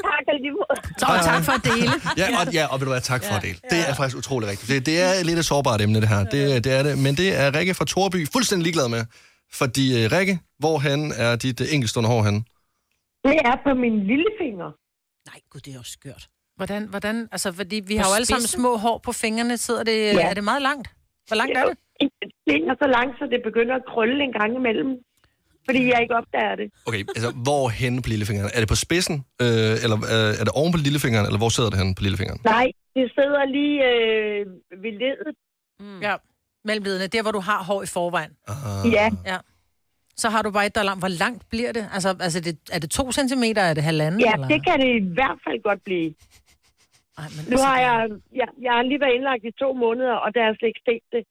S8: Tak, og lige måde.
S3: Så og tak for at dele.
S1: Ja, og, ja, og vil du være tak for det. Det er faktisk utrolig rigtigt. Det, det er lidt et sårbart emne, det her. Det, det er det. Men det er Rikke fra Torby fuldstændig ligeglad med. Fordi øh, Rikke, hvor han er dit øh, enkeltstående hår henne?
S9: Det er på min lillefinger.
S4: Nej, gud, det er også skørt.
S3: Hvordan, hvordan, altså, fordi vi har jo alle sammen
S4: spidsen?
S3: små hår på fingrene. Sidder det, ja.
S9: Ja.
S3: Er det meget langt? Hvor langt er det?
S9: Det er så langt, så det begynder at krølle en gang imellem. Fordi jeg ikke opdager det.
S1: Okay, altså, hvor hen på lillefingeren? Er det på spidsen, øh, eller øh, er det oven på lillefingeren, eller hvor sidder det henne på lillefingeren?
S9: Nej, det sidder lige øh, ved ledet.
S3: Ja. Mellemledende, der hvor du har hår i forvejen.
S1: Uh,
S9: Ja,
S3: Så har du bare et, der er langt. Hvor langt bliver det? Altså, altså det, er det to centimeter? Er det halvanden?
S9: ja
S3: eller?
S9: det kan det i hvert fald godt blive.
S3: Ej, men
S9: Nu
S3: altså,
S9: har jeg, jeg, jeg har lige været indlagt i to måneder, og der har jeg slet ikke set det.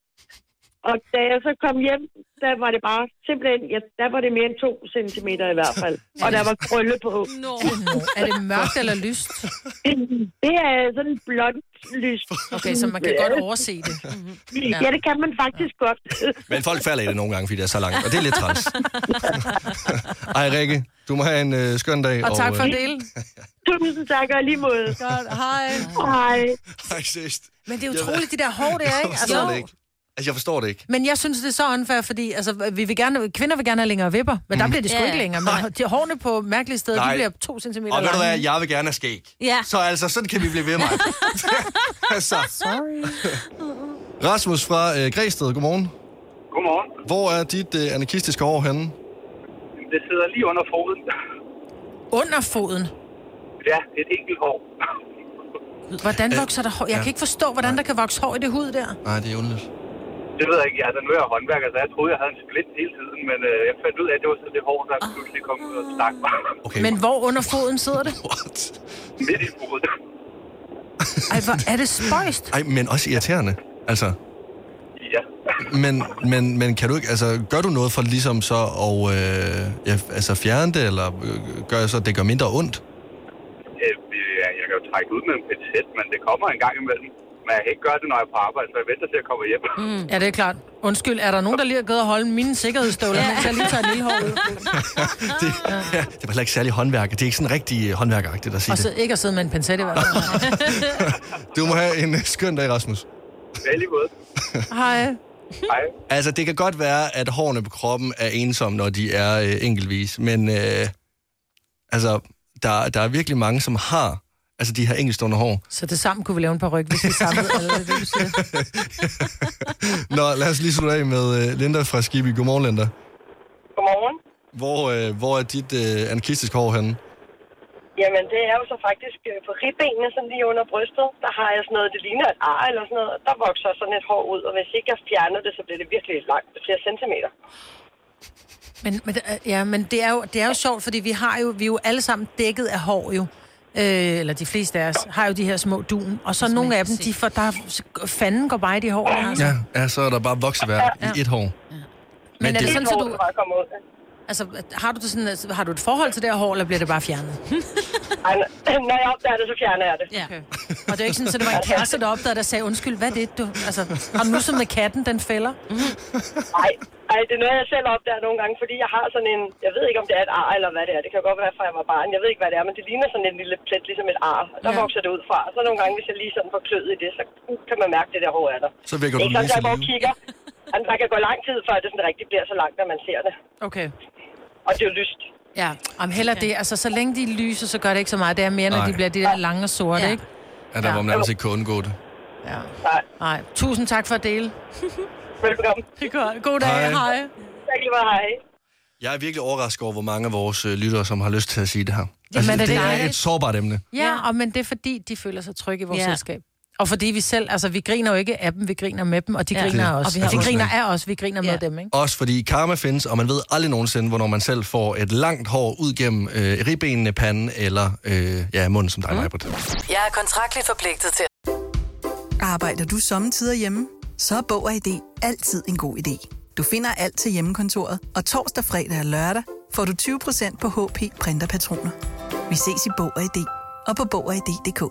S9: Og da jeg så kom hjem, der var det bare simpelthen, ja, der var det mere end to centimeter i hvert fald. Og der var krølle på.
S4: Nå.
S3: Nå, Er det mørkt eller lyst?
S9: Det er sådan blond lys.
S3: Okay, så man kan
S9: Ja.
S3: godt overse det.
S9: Ja, det kan man faktisk godt.
S1: Men folk falder i det nogle gange, fordi det er så langt, og det er lidt træls. Ej, Rikke, du må have en øh, skøn dag.
S3: Og tak for at
S1: (laughs) øh,
S3: dele.
S9: Tusind tak, og i lige måde.
S3: Godt, hej.
S9: Hej.
S1: Hej, sidst.
S3: Men det er utroligt, de der hår, det er,
S1: Jeg
S3: ikke?
S1: forstår det ikke. Altså, jeg forstår det ikke.
S3: Men jeg synes, det er så unfair, fordi altså, vi vil gerne, kvinder vil gerne have længere vipper, men der bliver det sgu
S4: Ja.
S3: ikke længere. Men de hårene på mærkelige steder,
S1: Mm. Nej.
S3: de bliver to centimeter
S1: Og ved du
S3: lange.
S1: hvad, jeg vil gerne have skæg.
S4: Ja.
S1: Så altså, sådan kan vi blive ved med.
S3: (laughs)
S1: altså. (laughs) Rasmus fra øh, Græsted, godmorgen.
S10: Godmorgen.
S1: Hvor er dit øh, anarkistiske hår henne?
S10: Det sidder lige under foden.
S3: Under foden.
S10: Ja, det er et enkelt hår.
S3: Hvordan
S1: Øh,
S3: vokser der hår? Jeg kan ikke forstå, hvordan der kan vokse hår i det hud der.
S1: Nej, det er ondt.
S10: Det ved jeg ikke. Jeg er den værre håndværker, så jeg troede, jeg havde en split hele tiden. Men øh, jeg fandt ud af, at det var så det hår, der pludselig kom ud og stak mig (laughs)
S1: Okay.
S3: Men hvor under foden sidder det?
S1: What?
S10: midt i hovedet.
S3: Ej, hvor er det spøjst.
S1: Ej, men også irriterende. Altså,
S10: Ja.
S1: men, men, men kan du ikke, altså, gør du noget for ligesom så at øh, ja, altså, fjerne det, eller øh, gør så, at det gør mindre ondt?
S10: Øh, ja, jeg kan jo trække ud med en (laughs) pincet, men det kommer en gang imellem. Men jeg kan ikke gøre det, når jeg er på arbejde, så jeg venter til, at jeg kommer hjem. Mm.
S3: Ja, det er klart. Undskyld, er der nogen, der lige er gået og holde mine sikkerhedsstøvler, mens jeg lige tager en lille hår (laughs) ud?
S1: (laughs) det, ja, det var heller ikke særlig håndværk. Det er ikke sådan rigtig øh, håndværkeragtigt at sige
S3: Ah. Og så
S1: det. (laughs)
S3: ikke at sidde med en pincet i hvert fald.
S1: Du må have en øh, skøn dag, Rasmus.
S10: Ja, lige måde.
S3: (laughs) Hej.
S10: Hej.
S1: Altså, det kan godt være, at hårene på kroppen er ensomme, når de er øh, enkeltvis, men øh, altså, der, der er virkelig mange, som har altså, de her enkeltstående (laughs) hår.
S3: Så det sammen kunne vi lave en par ryg, hvis vi samlede alle det, du siger.
S1: Nå, lad os lige slutte af med øh, Linda fra Skiby. Godmorgen, Linda.
S11: Godmorgen.
S1: Hvor, øh, hvor er dit øh, anarkistiske hår henne?
S11: Jamen, det er jo så faktisk øh, på ribbenene, sådan lige under brystet, der har jeg sådan noget, det ligner et ar eller sådan noget, og der vokser sådan et hår ud, og hvis ikke jeg fjerner det, så bliver det virkelig langt, flere centimeter.
S3: Men, men, det er- ja, men det, er jo, det er jo sjovt, fordi vi, har jo, vi er jo alle sammen dækket af hår jo. Øh, eller de fleste af os har jo de her små dun. Og så nogle af dem, de får, der, fanden går bare i de hår. de har.
S1: Ja, ja så er der bare vokseværk ja. i et hår.
S3: Men, men er det,
S1: det-
S3: sådan, så du...
S11: Kom ud.
S3: Altså, har du, det sådan, altså, har du et forhold til det her hår, eller bliver det bare fjernet?
S11: Ej, n- (clears throat) når jeg opdager det, så fjerner jeg det.
S3: Ja. Okay. Og det er jo ikke sådan, at det var en kæreste, der opdagede, der sagde, undskyld, hvad er det, du... Altså, har du nu som med katten, den fælder?
S11: Nej, ej, det er noget, jeg selv opdager nogle gange, fordi jeg har sådan en... Jeg ved ikke, om det er et ar eller hvad det er. Det kan jo godt være, fra jeg var barn. Jeg ved ikke, hvad det er, men det ligner sådan en lille plet, ligesom et ar. Og der
S3: Ja.
S11: ja. vokser det ud fra. Og så nogle gange, hvis jeg lige sådan får kløet i det, så uh, kan man mærke, at det der hår er der.
S1: Så vækker
S11: det
S1: du
S11: er ikke sådan,
S1: den
S11: jeg går
S1: til
S11: og
S1: live.
S11: kigger. Jamen, der kan gå lang tid, før det sådan rigtig bliver så langt, når man ser det.
S3: Okay.
S11: Og det er jo lyst.
S3: Ja, om heller det. Altså, så længe de lyser, så gør det ikke så meget. Det er mere, når
S1: Nej.
S3: de bliver de der lange og sorte, ja. ikke?
S1: Ja, der
S3: Ja.
S1: ja. hvor man nærmest ikke kan undgå det.
S3: Ja. Nej. Tusind tak for at dele.
S11: Velkommen.
S3: Det er godt. God dag.
S1: Hej.
S3: Hej. hej.
S11: Tak lige meget, hej.
S1: Jeg er virkelig overrasket over, hvor mange af vores øh, lyttere, som har lyst til at sige det her.
S3: er
S1: det,
S3: det
S1: Altså, det er
S3: dejligt.
S1: et sårbart emne.
S3: Ja, og men det er fordi, de føler sig trygge i vores
S4: Ja.
S3: ja. selskab. Og fordi vi selv, altså vi griner jo ikke af dem, vi griner med dem, og de
S4: Ja.
S3: ja. griner
S1: Det-
S3: af os.
S1: og
S3: Og
S1: vi
S3: vi
S1: har
S3: de
S1: også-
S3: griner af os, vi griner ja. med dem, ikke?
S1: Også fordi karma findes, og man ved aldrig nogensinde, hvornår man selv får et langt hår ud gennem øh, ribbenene, panden eller øh, ja, munden som dig, mm.
S7: Jeg er kontraktligt forpligtet til
S12: Arbejder du sommetider hjemme? Så er Bog og ID altid en god idé. Du finder alt til hjemmekontoret, og torsdag, fredag og lørdag får du 20% på HP Printerpatroner. Vi ses i Bog og ID og på Bog og ID.dk.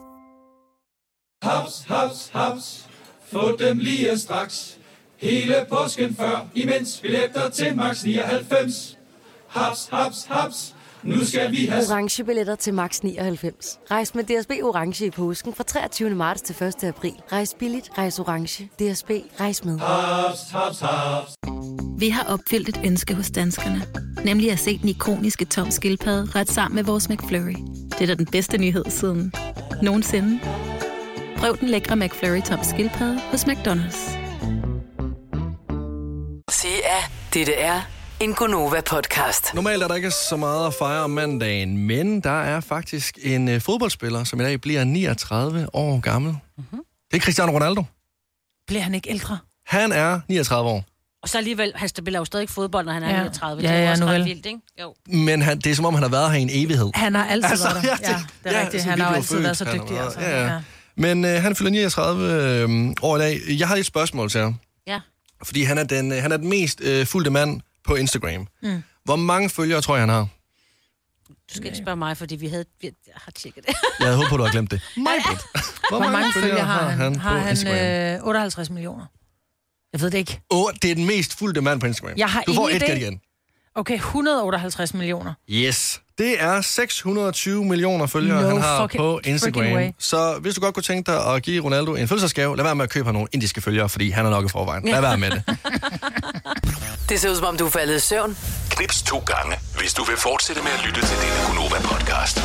S13: Haps, haps, haps. Få dem lige straks. Hele påsken før, imens billetter til max 99. Haps, haps, haps. Nu skal vi have...
S14: orange billetter til max 99. Rejs med DSB orange i påsken fra 23. marts til 1. april. Rejs billigt, rejs orange. DSB rejs med.
S13: Haps, haps, haps.
S15: Vi har opfyldt et ønske hos danskerne. Nemlig at se den ikoniske tom skildpadde ret sammen med vores McFlurry. Det er da den bedste nyhed siden nogensinde. Prøv den lækre McFlurry tom skildpadde hos McDonald's.
S7: at sige, at dette er en Gunova-podcast.
S1: Normalt er der ikke så meget at fejre om mandagen, men der er faktisk en øh, fodboldspiller, som i dag bliver 39 år gammel.
S3: Mhm.
S1: Mm-hmm. Det er Cristiano Ronaldo.
S3: Bliver han ikke ældre?
S1: Han er 39 år,
S4: Og så alligevel, han spiller jo stadig ikke fodbold, når han er
S3: Ja.
S4: 39.
S3: Ja,
S4: det er jo
S3: ja,
S4: også
S3: nu
S4: ret
S3: vel.
S4: vildt, ikke? Jo.
S1: men han, det er som om, han har været her i en evighed.
S3: Han har altid altså, været der.
S4: ja,
S3: Ja, det er ja, rigtigt.
S1: sådan
S3: Han
S1: lige
S3: har jo
S1: blev
S3: altid
S1: altså, født,
S3: været så
S1: han har
S3: dygtig.
S1: været-
S3: Altså.
S1: Ja, ja. Men øh, han fylder 39 øh, år i dag. Jeg har lige et spørgsmål til ham.
S4: Ja.
S1: Fordi han er den, øh, han er den mest øh, fulgte mand på Instagram.
S4: Mm.
S1: Hvor mange følgere tror jeg, han har?
S4: Du skal ikke spørge mig, fordi vi havde... Vi, jeg har tjekket (laughs) det.
S1: Jeg havde håbet på, du havde glemt det.
S3: Hvor mange følgere har han?
S1: på
S3: Har han
S1: Instagram?
S3: øh, 58 millioner? Jeg ved det ikke.
S1: Åh, det er den mest fulgte mand på Instagram.
S3: Jeg har
S1: du får
S3: ingen
S1: et
S3: idé.
S1: gæt igen.
S3: Okay, 158 millioner.
S1: Yes. Det er 620 millioner følgere,
S3: No
S1: han har
S3: fucking-
S1: på
S3: freaking
S1: Instagram.
S3: way.
S1: Så hvis du godt kunne tænke dig at give Ronaldo en fødselsdagsgave, lad være med at købe ham nogle indiske følgere, fordi han er nok i forvejen. Lad være med det.
S7: Det ser ud som om, du er faldet i søvn.
S5: Knips to gange, hvis du vil fortsætte med at lytte til denne Gunova-podcast.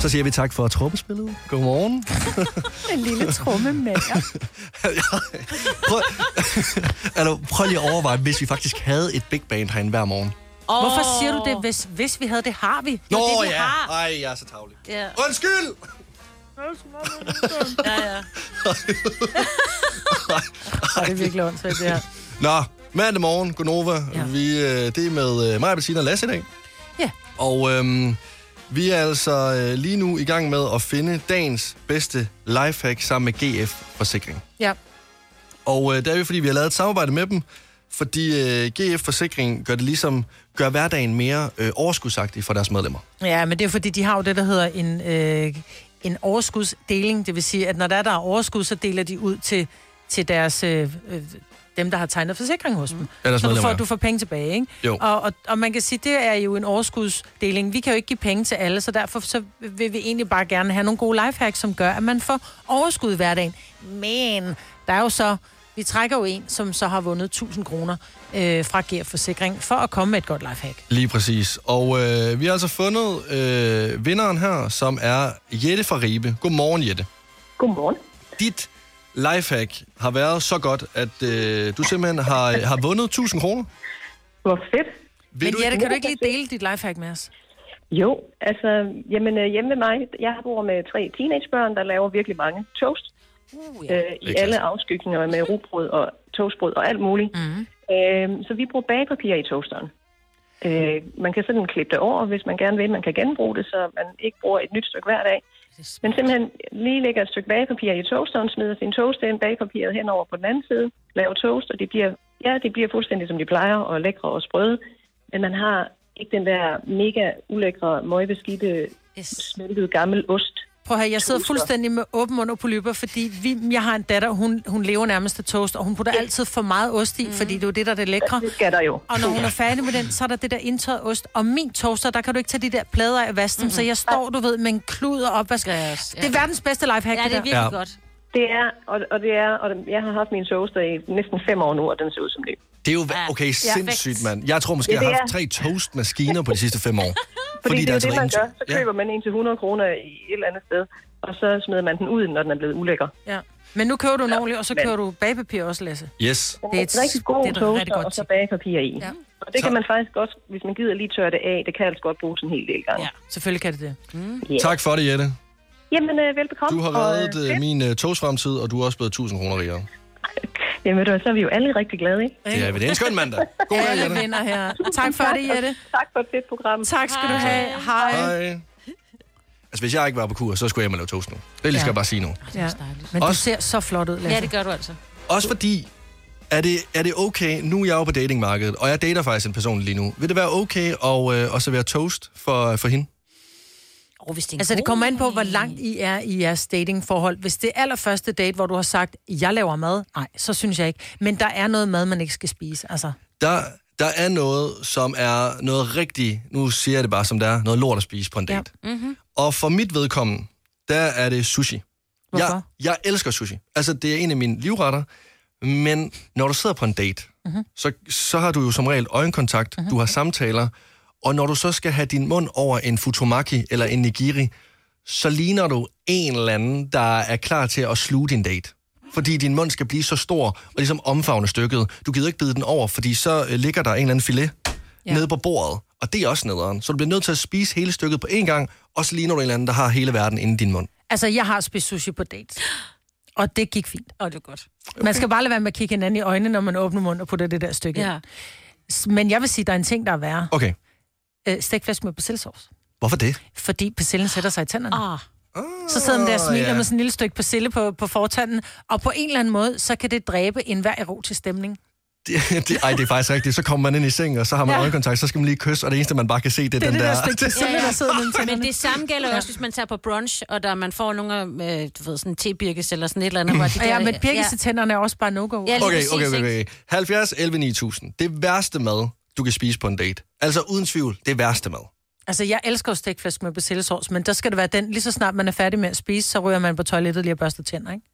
S1: Så siger vi tak for troppespillet. Godmorgen.
S3: (laughs) En lille trummemager.
S1: (laughs) prøv, altså, prøv lige at overveje, hvis vi faktisk havde et big band herinde hver morgen.
S3: Oh. Hvorfor siger du det, hvis, hvis vi havde det? Har vi?
S1: Nå
S3: det, vi
S1: ja,
S3: Har.
S1: ej, jeg er så tavlig.
S4: Ja.
S1: Undskyld!
S4: ja, ja.
S3: Det er virkelig åndssvagt, det her.
S1: Nå, mandag morgen, Gonova. Ja. Vi, øh, det er med øh, mig, Bettina og Lasse i dag.
S3: Ja.
S1: Og øhm, vi er altså øh, lige nu i gang med at finde dagens bedste lifehack sammen med GF Forsikring.
S3: Ja.
S1: Og øh, det er jo fordi, vi har lavet et samarbejde med dem, fordi øh, GF Forsikring gør det ligesom gøre hverdagen mere øh, overskudsagtig for deres medlemmer.
S3: Ja, men det er fordi, de har jo det, der hedder en, øh, en overskudsdeling. Det vil sige, at når der er, der er overskud, så deler de ud til, til deres... Øh, øh, dem, der har tegnet forsikring hos dem.
S1: Mm. Ellers
S3: så du
S1: medlemmer,
S3: får,
S1: ja.
S3: du får penge tilbage, ikke?
S1: Jo.
S3: Og, og, og man kan sige, det er jo en overskudsdeling. Vi kan jo ikke give penge til alle, så derfor så vil vi egentlig bare gerne have nogle gode lifehacks, som gør, at man får overskud i hverdagen. Men der er jo så... Vi trækker jo en, som så har vundet 1000 kroner øh, fra GF Forsikring, for at komme med et godt lifehack.
S1: Lige præcis. Og øh, vi har altså fundet øh, vinderen her, som er Jette fra Ribe. Godmorgen, Jette.
S8: Godmorgen.
S1: Dit lifehack har været så godt, at øh, du simpelthen har, har vundet 1000 kroner.
S8: Hvor fedt.
S1: Vil
S3: Men
S1: du
S3: Jette,
S1: ikke-
S3: kan du ikke lige dele dit lifehack med os?
S8: Jo, altså, jamen øh, hjemme ved mig, jeg bor med tre teenagebørn, der laver virkelig mange toast. Uh, ja. øh, I alle afskygninger med rugbrød og toastbrød og alt muligt. Mm. Øh, så vi bruger bagepapir i toasteren. Øh, man kan sådan klippe det over, hvis man gerne vil. Man kan genbruge det, så man ikke bruger et nyt stykke hver dag. Men simpelthen lige lægger et stykke bagepapir i toasteren, smider sin toast ind, bagepapiret henover på den anden side, laver toast, og det bliver, ja, det bliver fuldstændig som de plejer, og lækre og sprøde. Men man har ikke den der mega ulækre, møgbeskidte, yes. smeltede gammel ost.
S3: Prøv at høre, jeg sidder
S8: Toaster.
S3: fuldstændig med åben mund og polypper, fordi vi, jeg har en datter, hun, hun lever nærmest af toast, og hun putter altid for meget ost i, mm. fordi det er jo det, der er det lækre.
S8: Det skal der jo.
S3: Og når hun er færdig med den, så er der det der indtørret ost. Og min toaster, der kan du ikke tage de der plader af og vaske dem, mm-hmm. så jeg står, du ved, med en klud og opvask. Yes, det er verdens bedste lifehack,
S8: Ja, det er
S3: der.
S8: virkelig Ja. godt. Det er, og, og det er, og den- jeg har haft min toaster i næsten fem år nu, og den ser ud som ny.
S1: Det er jo
S3: Ah,
S1: okay, sindssygt, mand. Jeg tror måske,
S8: Ja,
S1: jeg har
S8: det
S1: haft tre toastmaskiner på de sidste
S3: (laughs)
S1: fem år.
S8: Fordi, Fordi det er
S1: altså
S8: jo det, man
S1: en-
S8: gør. Så køber man en til 100 kroner i et eller andet sted, og så smider man den ud, når den er blevet ulækker.
S3: Ja. Men nu kører du en ordentlig, og så kører du bagepapir også, Lasse.
S1: Ja. Yes.
S8: Det er et rigtig god
S3: det er et rigtig
S8: toaster,
S3: godt
S8: og så bagepapir i. Ja. Og det kan man faktisk godt, hvis man gider lige tørre det af, det kan altså godt bruges en hel del gange. Ja.
S3: Selvfølgelig kan det det.
S8: Mm.
S1: Tak for det, Jette.
S8: Jamen, øh, velbekomme.
S1: Du har
S8: og,
S1: reddet
S8: øh,
S1: øh, min øh, toastfremtid, og du er også blevet 1000 kroner rigere.
S8: Jamen, ved du, hvad, så er vi jo alle rigtig glade, ikke?
S1: Det er ved det en skøn mandag. God dag,
S3: Alle
S1: Jette.
S3: vinder her. Tak for det, Jette.
S8: Tak for et fedt program.
S3: Tak skal du have. Hej.
S1: Hej. Altså, hvis jeg ikke var på kur, så skulle jeg hjem og lave toast nu. Det lige skal
S3: Ja.
S1: jeg bare sige nu.
S3: Ja. Men du ser så flot ud, Lasse.
S4: Ja, det gør du altså.
S1: Også fordi, er det, er det okay, nu er jeg jo på datingmarkedet, og jeg dater faktisk en person lige nu. Vil det være okay at, øh, at servere toast for, for hende?
S4: Og hvis det er en
S3: Altså, det
S4: god
S3: kommer ind på, hvor langt I er i jeres datingforhold. Hvis det er allerførste date, hvor du har sagt, jeg laver mad, nej, så synes jeg ikke. Men der er noget mad, man ikke skal spise, altså.
S1: Der, der er noget, som er noget rigtig, nu siger jeg det bare som det er, noget lort at spise på en date. Ja.
S3: Mm-hmm.
S1: Og for mit vedkommende, der er det sushi.
S3: Hvorfor?
S1: Jeg, jeg elsker sushi. Altså, det er en af mine livretter. Men når du sidder på en date, mm-hmm. så, så har du jo som regel øjenkontakt, mm-hmm. du har samtaler, og når du så skal have din mund over en futomaki eller en nigiri, så ligner du en eller anden, der er klar til at sluge din date. Fordi din mund skal blive så stor og ligesom omfavne stykket. Du gider ikke bide den over, fordi så øh, ligger der en eller anden filet ja. nede på bordet, og det er også nederen. Så du bliver nødt til at spise hele stykket på én gang, og så ligner du en eller anden, der har hele verden inde i din mund.
S3: Altså, jeg har spist sushi på date. Og det gik fint.
S4: Og det er godt.
S3: Man skal bare lade være med at kigge hinanden i øjnene, når man åbner munden og putter det der stykke ja. Men jeg vil sige, der er en ting, der er værre.
S1: Okay,
S3: Øh, Stegflæsk med persillesauce.
S1: hvorfor det?
S3: Fordi persillen sætter sig i tænderne. Ah. Så sidder man der og smiler
S1: ja.
S3: med sådan et lille stykke persille på, på fortanden, og på en eller anden måde, så kan det dræbe enhver erotisk stemning.
S1: Det, det, ej, det er faktisk rigtigt. Så kommer man ind i sengen, og så har man
S3: Ja.
S1: ja. øjenkontakt, så skal man lige kysse, og det eneste, man bare kan se, det er,
S3: Det er
S1: den
S3: det der
S1: der...
S3: (laughs) stykke persille, der sidder mellem tænderne.
S4: Men det samme gælder jo også, hvis man tager på brunch, og der man får nogle af, øh, du ved, sådan tebirkes eller sådan et eller andet. Hvor de
S3: Og ja,
S4: der-
S3: men birkes i tænderne er også bare no-go.
S4: Ja, lige
S1: Okay, okay, okay, okay. 70, 11, 9000. Det værste mad, du kan spise på en date. Altså uden tvivl, det værste mad.
S3: Altså, jeg elsker jo stegflæsk med persillesauce, men der skal det være den, lige så snart man er færdig med at spise, så ryger man på toilettet lige og børster tænder, ikke?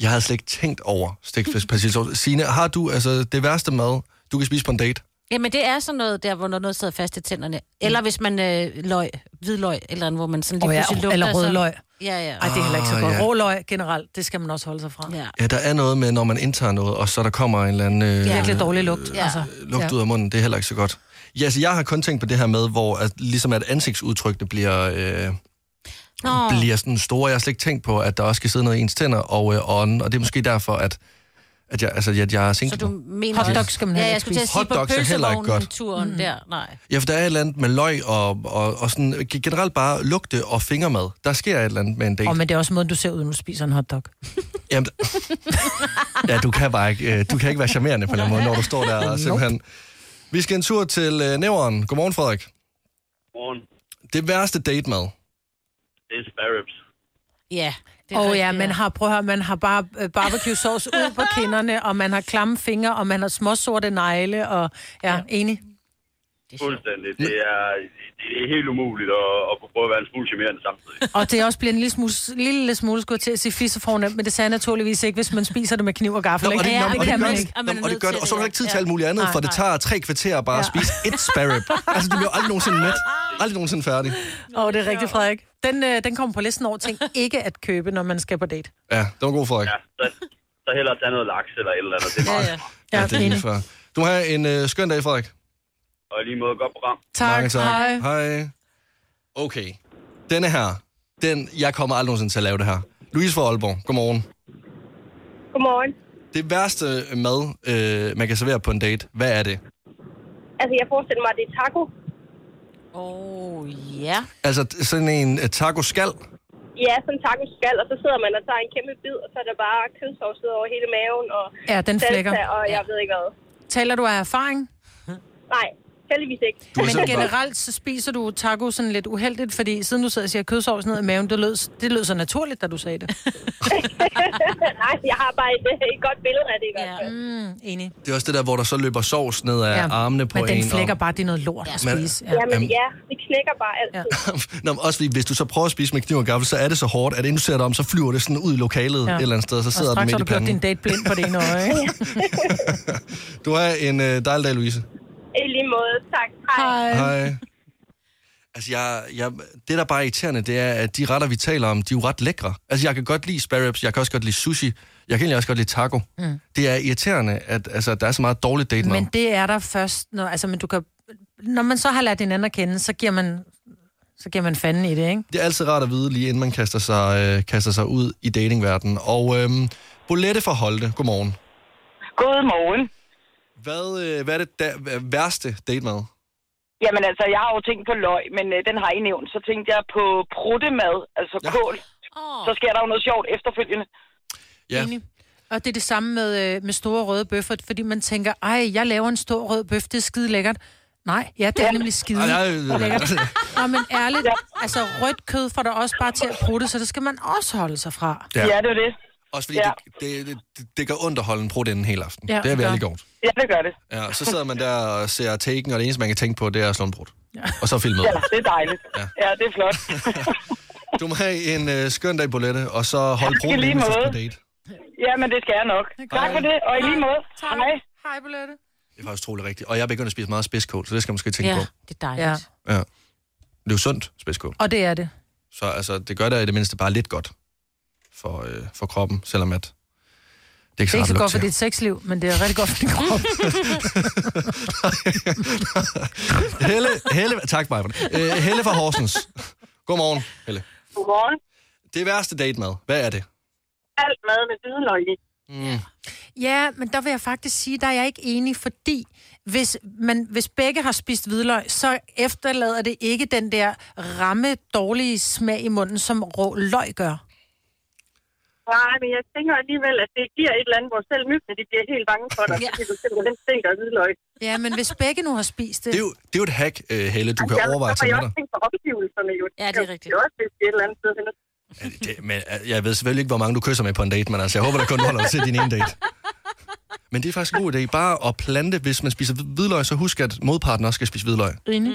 S1: Jeg havde slet ikke tænkt over stegfisk persillesauce. Signe, har du altså det værste mad, du kan spise på en date?
S4: Jamen, det er sådan noget der, hvor noget sidder fast i tænderne. Eller hvis man øh, løg, hvidløg, eller andet, hvor man sådan lige
S3: Åh, ja,
S4: pludselig lugter.
S3: eller rødløg.
S4: Så... Ja, ja.
S3: Ej, det er heller ikke så
S1: Åh,
S3: godt.
S1: ja.
S3: Råløg generelt, det skal man også holde sig fra.
S4: Ja.
S1: Ja, der er noget med, når man indtager noget, og så der kommer en eller anden... Øh,
S3: Virkelig dårlig lugt, ja. altså.
S1: lugt ud af munden, det er heller ikke så godt. Ja, altså, jeg har kun tænkt på det her med, hvor at, ligesom at ansigtsudtrykkene bliver, øh,
S4: Nå.
S1: bliver sådan store. Jeg har slet ikke tænkt på, at der også skal sidde noget i ens tænder og øh, ånden, og det er måske derfor, at, at jeg, altså, at jeg er single.
S4: Så du
S1: nu.
S4: mener...
S1: Hotdog
S4: også-
S1: skal man heller
S4: ja, jeg
S1: ikke
S4: skulle til at
S1: spise.
S4: sige på
S1: Hotdogs er heller ikke godt.
S4: pølsevognen-turen der. Nej.
S1: Ja, for der er et eller andet med løg og, og, og sådan, generelt bare lugte og fingermad. Der sker et eller andet med en date.
S3: Og men det er også måden, du ser ud, når du spiser en hotdog.
S1: (laughs) Jamen, ja, du kan bare ikke, øh, du kan ikke være charmerende på den måde, når du står der og simpelthen... Vi skal en tur til øh, næveren. Godmorgen, Frederik.
S10: Morgen.
S1: Det værste date-mad.
S10: Det er spare ribs.
S4: Ja.
S3: Åh oh, ja, man har, prøv at høre, man har bare øh, barbecue sauce ud på kinderne, og man har klamme fingre, og man har småsorte negle, og ja, ja. enig.
S10: Fuldstændig. Det er, det er helt umuligt at, at kunne prøve at være en smule charmerende samtidig.
S3: Og det også bliver en lille smule, lille smule skulle jeg til at sige fisse fornemt, men det sagde jeg naturligvis ikke, hvis man spiser det med kniv og gaffel.
S1: Nå, og det,
S3: ikke?
S1: nå, og det, gør det, nå, og det gør det, og så er der ikke tid til alt muligt andet, for det tager tre kvarter bare at spise et spare rib. Altså, du bliver aldrig nogensinde mæt. Aldrig nogensinde færdig.
S3: Åh, oh, det er rigtigt, Frederik. Den, øh, den kommer på listen over (laughs) ting ikke at købe, når man skal på date.
S1: Ja, det var god, Frederik.
S10: Ja, så, så hellere tage noget laks eller et eller andet. Det er meget.
S1: Ja, det er lige før. Du har en øh, skøn dag, Frederik.
S10: Og i lige måde, godt program.
S1: Mange Hej. Okay. Denne her, den, jeg kommer aldrig nogensinde til at lave det her. Louise fra Aalborg, godmorgen.
S8: Godmorgen.
S1: Det værste mad, øh, man kan servere på en date, hvad er det?
S8: Altså, jeg forestiller mig, at det er taco.
S4: Åh, oh, ja.
S1: Altså t- sådan en øh, taco-skal?
S8: Ja, sådan taco skal, og så sidder man og tager en kæmpe bid, og så er der bare kødsovs ud over hele maven, og
S3: Ja, den
S8: salsa,
S3: flækker.
S8: og jeg ved ikke hvad.
S3: Taler du af erfaring?
S8: Nej, heldigvis ikke.
S1: Du har
S8: (laughs)
S1: selv
S3: Men
S1: prøvet.
S3: generelt så spiser du taco sådan lidt uheldigt, fordi siden du sidder og siger kødsovs ned i maven, det lød, det lød så naturligt, da du sagde det.
S8: Nej, jeg har bare et, øh, et godt billede af det i hvert fald.
S3: Mm, (laughs) enig.
S1: Det er også det der, hvor der så løber sovs ned af ja. armene på
S3: Men
S1: en.
S3: den flækker
S1: og...
S3: bare, det er noget lort at
S1: Men-
S3: spise.
S1: Ja.
S8: Jamen,
S1: Jamen.
S8: ja, det knækker bare altid. Ja.
S1: Nå, men også fordi, hvis du så prøver at spise med kniv og gaffel, så er det så hårdt, at inden du ser dig om, så flyver det sådan ud i lokalet ja. et eller andet sted, og så sidder
S3: og
S1: den
S3: straks
S1: midt
S3: har
S1: i
S3: du gjort din
S1: panden.
S3: date blind på det ene øje. ikke?
S1: Du har en øh, dejlig dag, Louise.
S8: I lige måde, tak. Hej.
S1: Hej. Altså, jeg, jeg, det, der bare er irriterende, det er, at de retter, vi taler om, de er jo ret lækre. Altså, jeg kan godt lide spare ribs, jeg kan også godt lide sushi, jeg kan egentlig også godt lide taco. Mm. Det er irriterende, at altså, der er så meget dårligt date
S3: Men det er der først, når, altså, men du kan, når man så har lært hinanden at kende, så giver man, så giver man fanden i det, ikke?
S1: Det er altid rart at vide, lige inden man kaster sig, øh, kaster sig ud i datingverdenen. Og øhm, Bolette fra Holte, godmorgen.
S16: Godmorgen.
S1: Hvad, øh, hvad er det da, hva- værste date mad?
S16: Jamen altså, jeg har jo tænkt på løg, men øh, den har I nævnt. Så tænkte jeg på pruttemad, altså ja. kål. Oh. Så sker der jo noget sjovt efterfølgende.
S1: Ja.
S3: Enig. Og det er det samme med, øh, med store røde bøffer, fordi man tænker, ej, jeg laver en stor rød bøf, det er skide lækkert. Nej, ja, det er nemlig skide
S1: Ej,
S3: Ej,
S1: nej, øh, nej. (laughs)
S3: lækkert. Nå, men ærligt, altså rødt kød får der også bare til at prutte, så det skal man også holde sig fra.
S16: det er det.
S1: Også fordi ja. det, det, det, det gør ondt at holde en prut inden hele aften.
S3: Ja,
S1: Ja, det er
S3: det gør.
S1: virkelig godt.
S16: Ja, det gør det.
S1: Ja, så sidder man der og ser taken, og det eneste, man kan tænke på, det er at slå en brud. Ja. Og så filmet.
S16: Ja, det er dejligt. Ja, ja det er flot.
S1: Du må have en øh, skøn dag, Bolette, og så hold
S16: I
S1: bruden
S16: lige
S1: inden
S16: måde.
S1: for date.
S16: ja, men det skal jeg nok. Tak for det, og i lige måde. Hej.
S3: Hej, Bolette.
S1: Det er faktisk troligt rigtigt. Og jeg er begyndt at spise meget spidskål, så det skal man måske tænke
S3: Ja.
S1: på.
S4: Det er dejligt.
S3: Ja,
S1: Ja. Det er jo sundt, spidskål.
S3: og det er det.
S1: Så altså, det gør det i det mindste bare lidt godt for, øh, for kroppen, selvom at det er ikke
S3: Det er ikke så
S1: rart at
S3: godt for
S1: lugte
S3: dit sexliv, men det er rigtig godt for din krop.
S1: til. Helle, Helle, tak mig. Øh, Helle fra Horsens. Godmorgen, Helle.
S8: Godmorgen.
S1: Det værste date mad, hvad er det?
S8: Alt mad med hvidløg i.
S1: Mm.
S3: (laughs) Ja, men der vil jeg faktisk sige, der er jeg ikke enig, fordi hvis, man, hvis begge har spist hvidløg, så efterlader det ikke den der ramme dårlige smag i munden, som rå løg gør.
S8: Nej, men jeg tænker alligevel, at det giver et eller andet, hvor selv myggene de bliver helt bange for dig, ja. fordi du simpelthen stinker af hvidløg.
S3: Ja, men hvis begge nu har spist det...
S1: Det er jo, det er jo et hack, øh, Helle, du kan overveje
S8: til
S1: til med
S8: Jeg
S1: dig.
S8: også tænkt på omgivelserne jo. Ja, det er rigtigt. Det er også hvis de er et eller andet sted. hen.
S1: Det, men øh, jeg ved selvfølgelig ikke, hvor mange du kysser med på en date, men altså, jeg håber, der kun du holder dig til din ene date. Men det er faktisk en god idé. Bare at plante, hvis man spiser hvidløg, så husk, at modparten også skal spise hvidløg.
S3: Enig.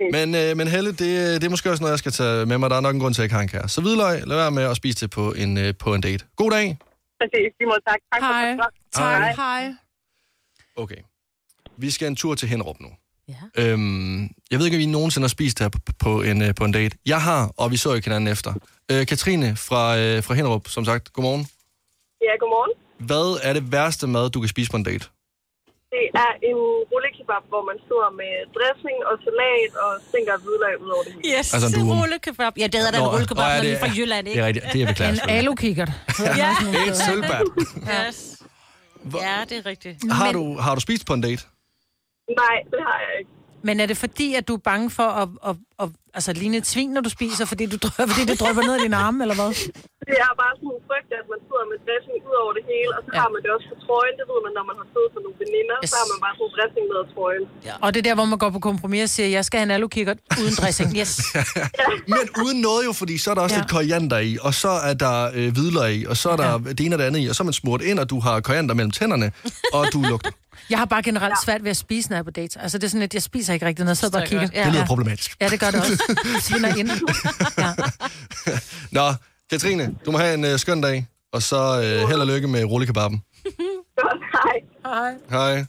S8: Ja.
S1: Men, øh, men Helle, det, det er måske også noget, jeg skal tage med mig. Der er nok en grund til, at jeg ikke har en kæreste. Så hvidløg, lad være med at spise det på en, øh, på en date. God dag.
S8: Præcis, de må tak. Tak for
S3: Hej.
S8: det.
S3: Tak,
S1: Hej.
S3: hej.
S1: Okay. Vi skal en tur til Henrup nu. Ja. Øhm, jeg ved ikke, om I nogensinde har spist her på, på, en, øh, på en date. Jeg har, og vi så ikke hinanden efter. Øh, Katrine fra, øh, fra Henrup, som sagt. Godmorgen.
S8: Ja, godmorgen.
S1: Hvad er det værste mad, du kan spise på en date?
S8: Det er en rullekebab, hvor man står med dressing og salat og stinker af hvidløg ud over det hele.
S4: Yes,
S1: Altså en durum.
S4: rullekebab. Ja, det hedder da en
S1: Nå,
S4: rullekebab,
S1: nå, ja,
S4: når vi
S1: det
S4: er fra
S1: er-
S4: Jylland, ikke?
S1: det er rigtigt. Det er beklager
S3: En
S1: selvfølgelig.
S3: alukikkert.
S4: Ja.
S1: Et sølvbær.
S4: Yes. Ja, det er rigtigt.
S1: Har, du, har du spist på en date?
S8: Nej, det har jeg ikke.
S3: Men er det fordi, at du er bange for at, at, at, at altså, ligne et svin, når du spiser, fordi, du, drø- fordi det drøber ned i dine arme, eller hvad?
S8: det er bare sådan en frygt, at man sidder med dressing ud over det hele, og så ja. har man det også på trøjen. Det ved man, når man har siddet med nogle veninder, yes. så har man bare sådan en dressing med af trøjen. (laughs) Ja.
S3: Og det er der, hvor man går på kompromis og siger, jeg skal have en alukikkert uden (laughs) dressing. Yes.
S1: Men uden noget jo, fordi så er der også ja. lidt koriander i, og så er der øh, hvidløg i, og så er der ja. det ene og det andet i, og så er man smurt ind, og du har koriander mellem tænderne, og du
S4: (laughs)
S1: lugter.
S3: Jeg har bare generelt svært ved at spise, når jeg er på dates. Altså, det er sådan, at jeg spiser ikke rigtig noget, så bare og kigger.
S1: Det lyder problematisk.
S3: Ja, det gør det også. Svinder ind.
S1: Nå, Katrine, du må have en øh, skøn dag, og så øh, held og lykke med rullekebabben.
S8: Hej. Hej.
S1: Hej.